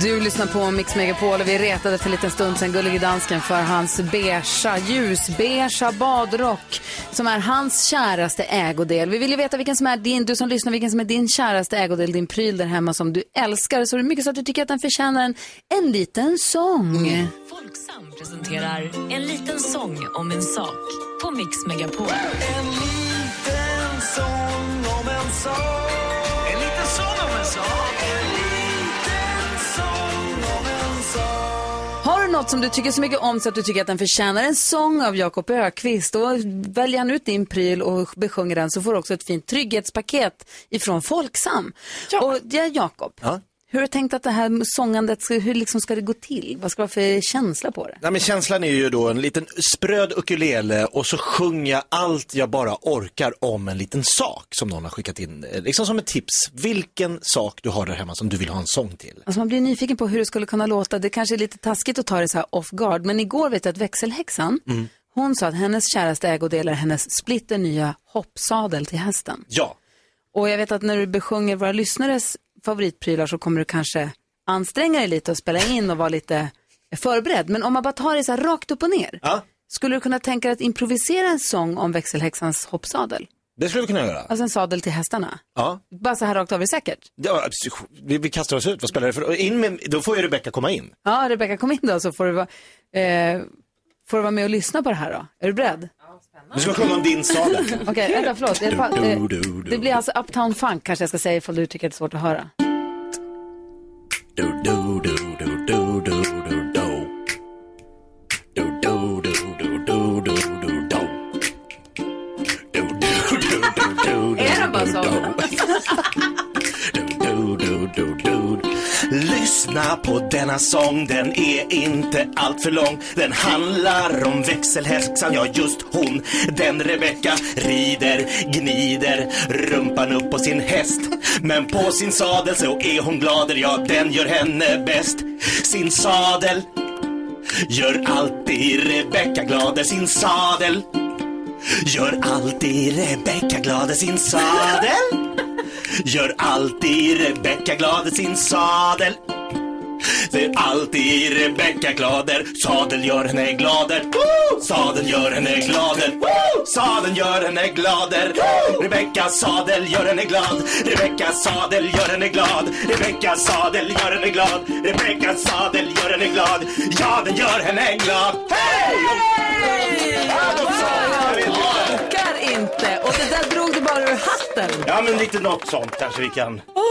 Speaker 1: Du lyssnar på Mix Megapol och vi retade för en liten stund sedan Gullige Dansken för hans beiga, ljusbeiga badrock som är hans käraste ägodel. Vi vill ju veta vilken som är din, du som lyssnar, vilken som är din käraste ägodel, din pryl där hemma som du älskar. Så det är mycket så att du tycker att den förtjänar en, en liten sång.
Speaker 15: Folksam presenterar En liten sång om en sak på Mix Megapol.
Speaker 7: En liten sång om en sak. En liten sång om en sak. En liten sång om en sak.
Speaker 1: Har du något som du tycker så mycket om så att du tycker att den förtjänar en sång av Jakob Ökvist då väljer han ut din pryl och besjunger den så får du också ett fint trygghetspaket ifrån Folksam. Och ja, Jakob, hur har du tänkt att det här sångandet, ska, hur liksom ska det gå till? Vad ska det vara för känsla på det?
Speaker 2: Nej, men känslan är ju då en liten spröd ukulele och så sjunger jag allt jag bara orkar om en liten sak som någon har skickat in. eh, Liksom som ett tips. Vilken sak du har där hemma som du vill ha en sång till.
Speaker 1: Alltså man blir nyfiken på hur det skulle kunna låta. Det kanske är lite taskigt att ta det så här off guard, men igår vet jag att växelhäxan,
Speaker 7: Mm.
Speaker 2: Mm.
Speaker 1: hon sa att hennes käraste ägodel är hennes splitternya hoppsadel till hästen.
Speaker 2: Ja.
Speaker 1: Och jag vet att när du besjunger våra lyssnares favoritprylar så kommer du kanske anstränga dig lite och spela in och vara lite förberedd. Men om man bara tar det så här rakt upp och ner. Skulle du kunna tänka dig att improvisera en sång om växelhäxans hoppsadel?
Speaker 2: Det skulle vi kunna göra.
Speaker 1: Alltså en sadel till hästarna.
Speaker 2: Ja.
Speaker 1: Bara så här rakt av är säkert.
Speaker 2: ja abs- vi, vi kastar oss ut. Vad spelar det för in med, Då får ju Rebecca komma in.
Speaker 1: Ja, Rebecka kom in då så får du vara, eh, får du vara med och lyssna på det här då. Är du beredd?
Speaker 2: Du ska sjunga om din sadel.
Speaker 1: Okej, vänta, förlåt. Jag, fa-
Speaker 2: Du,
Speaker 1: eh,
Speaker 2: du, du, du.
Speaker 1: det blir alltså Uptown Funk kanske jag ska säga ifall du tycker att det är svårt att höra.
Speaker 2: Do, do, do, do, do, do, do, do. Do, do, do, do, do, do, do, do. Do, do, do, do, do, do,
Speaker 4: Är det bara så?
Speaker 2: do, do, do, do. Lyssna på denna sång, den är inte allt för lång. Den handlar om växelhäxan, ja just hon. Den Rebecka rider, gnider rumpan upp på sin häst. Men på sin sadel så är hon glader, ja den gör henne bäst. Sin sadel gör alltid Rebecka glader, sin sadel. Gör alltid Rebecka glad i sin sadel. Gör alltid Rebecka glad i sin sadel. Det är alltid Rebecka glader. Sadel gör henne glader. Woo! Sadel gör henne glader. Woo! Sadel gör henne glader. Woo! Rebecka sadel gör henne glad. Rebecka sadel gör henne glad. Rebecka sadel gör henne glad. Rebecka sadel gör henne glad. Ja, den gör henne glad. Hej!
Speaker 1: Orkar inte! Och det där drog du bara ur hatten.
Speaker 16: Ja, men lite något sånt kanske vi kan.
Speaker 1: Åh,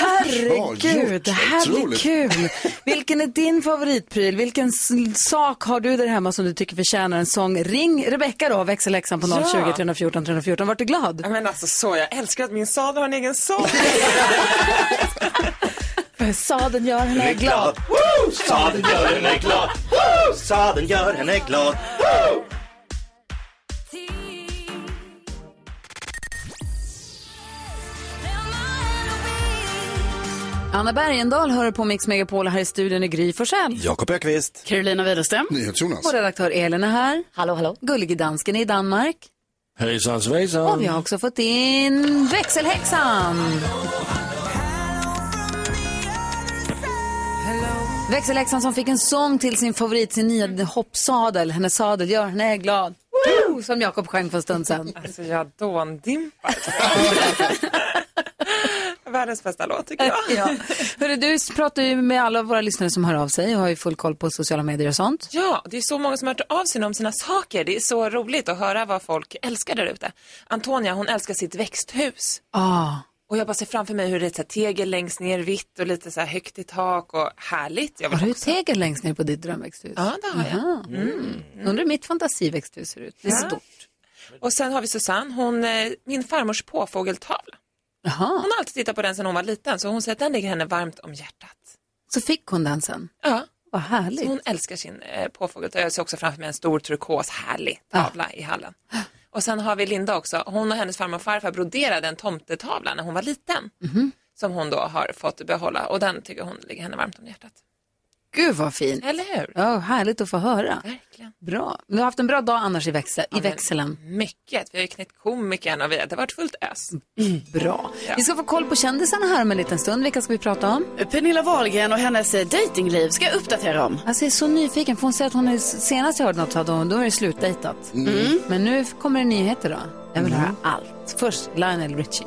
Speaker 1: herregud. Det här blir
Speaker 16: Otroligt.
Speaker 1: kul. Vilken är din favoritpryl? Vilken s- sak har du där hemma som du tycker förtjänar en sång? Ring Rebecka då, växelläxan på 020
Speaker 17: Ja.
Speaker 1: 314 314. Vart du glad?
Speaker 17: Men alltså så, jag älskar att min sadel har en egen sång.
Speaker 1: För Sadeln gör henne glad.
Speaker 16: Woo! Sadeln gör henne glad. Woo! Sadeln gör henne glad. Woo!
Speaker 1: Anna Bergendahl hör på Mix Megapol här i studion i Gry Forssell.
Speaker 16: Jakob Ökvist.
Speaker 4: Carolina Widerström.
Speaker 18: NyhetsJonas.
Speaker 4: Alltså.
Speaker 1: Vår redaktör Elin är här. Hallå, hallå. Gullige dansken är i Danmark.
Speaker 19: Hejsan svejsan.
Speaker 1: Och vi har också fått in växelhäxan. Växelhäxan som fick en sång till sin favorit, sin nya hoppsadel. Hennes sadel gör henne glad. Woo! Som Jakob sjöng för en stund sedan.
Speaker 17: Alltså jag dåndimpar. Världens bästa låt tycker jag.
Speaker 1: Ja. Hörru, du pratar ju med alla våra lyssnare som hör av sig och har ju full koll på sociala medier och sånt.
Speaker 17: Ja, det är så många som har hört av sig om sina saker. Det är så roligt att höra vad folk älskar där ute. Antonia, hon älskar sitt växthus.
Speaker 1: Ah.
Speaker 17: Och jag bara ser framför mig hur det är så här tegel längst ner, vitt och lite så här högt i tak och härligt. Jag
Speaker 1: Har
Speaker 17: vill...
Speaker 1: du tegel längst ner på ditt drömväxthus?
Speaker 17: Ja, det har jag.
Speaker 1: Jaha. Mm. Undrar hur mitt fantasiväxthus ser ut. Det är
Speaker 17: Ja.
Speaker 1: stort.
Speaker 17: Och sen har vi Susanne, hon, eh, min farmors påfågeltavla. Hon har alltid tittat på den sedan hon var liten, så hon säger att den ligger henne varmt om hjärtat.
Speaker 1: Så fick hon den sen.
Speaker 17: Ja.
Speaker 1: Vad härligt.
Speaker 17: Så hon älskar sin eh, påfågeltavla. Jag ser också framför mig en stor turkos, härlig tavla i hallen. Och sen har vi Linda också. Hon och hennes farmor och farfar broderade en tomtetavla när hon var liten. Som hon då har fått behålla och den tycker hon ligger henne varmt om hjärtat.
Speaker 1: Gud vad fint.
Speaker 17: Eller hur?
Speaker 1: Ja, härligt att få höra.
Speaker 17: Verkligen.
Speaker 1: Bra. Du har haft en bra dag annars i, växel, i växeln.
Speaker 17: Mycket. Vi har ju knäckt komikern och vi har, det har varit fullt ös.
Speaker 1: Bra.
Speaker 17: Mm. Ja.
Speaker 1: Vi ska få koll på kändisarna här om en liten stund. Vilka ska vi prata om?
Speaker 4: Pernilla Wahlgren och hennes eh, dejtingliv ska jag uppdatera om.
Speaker 1: Alltså jag är så nyfiken, för hon säger att hon är, senast jag hörde något av dem, då är det slutdejtat.
Speaker 4: Mm.
Speaker 1: Men nu kommer det nyheter då. Jag vill höra allt. Först Lionel Richie.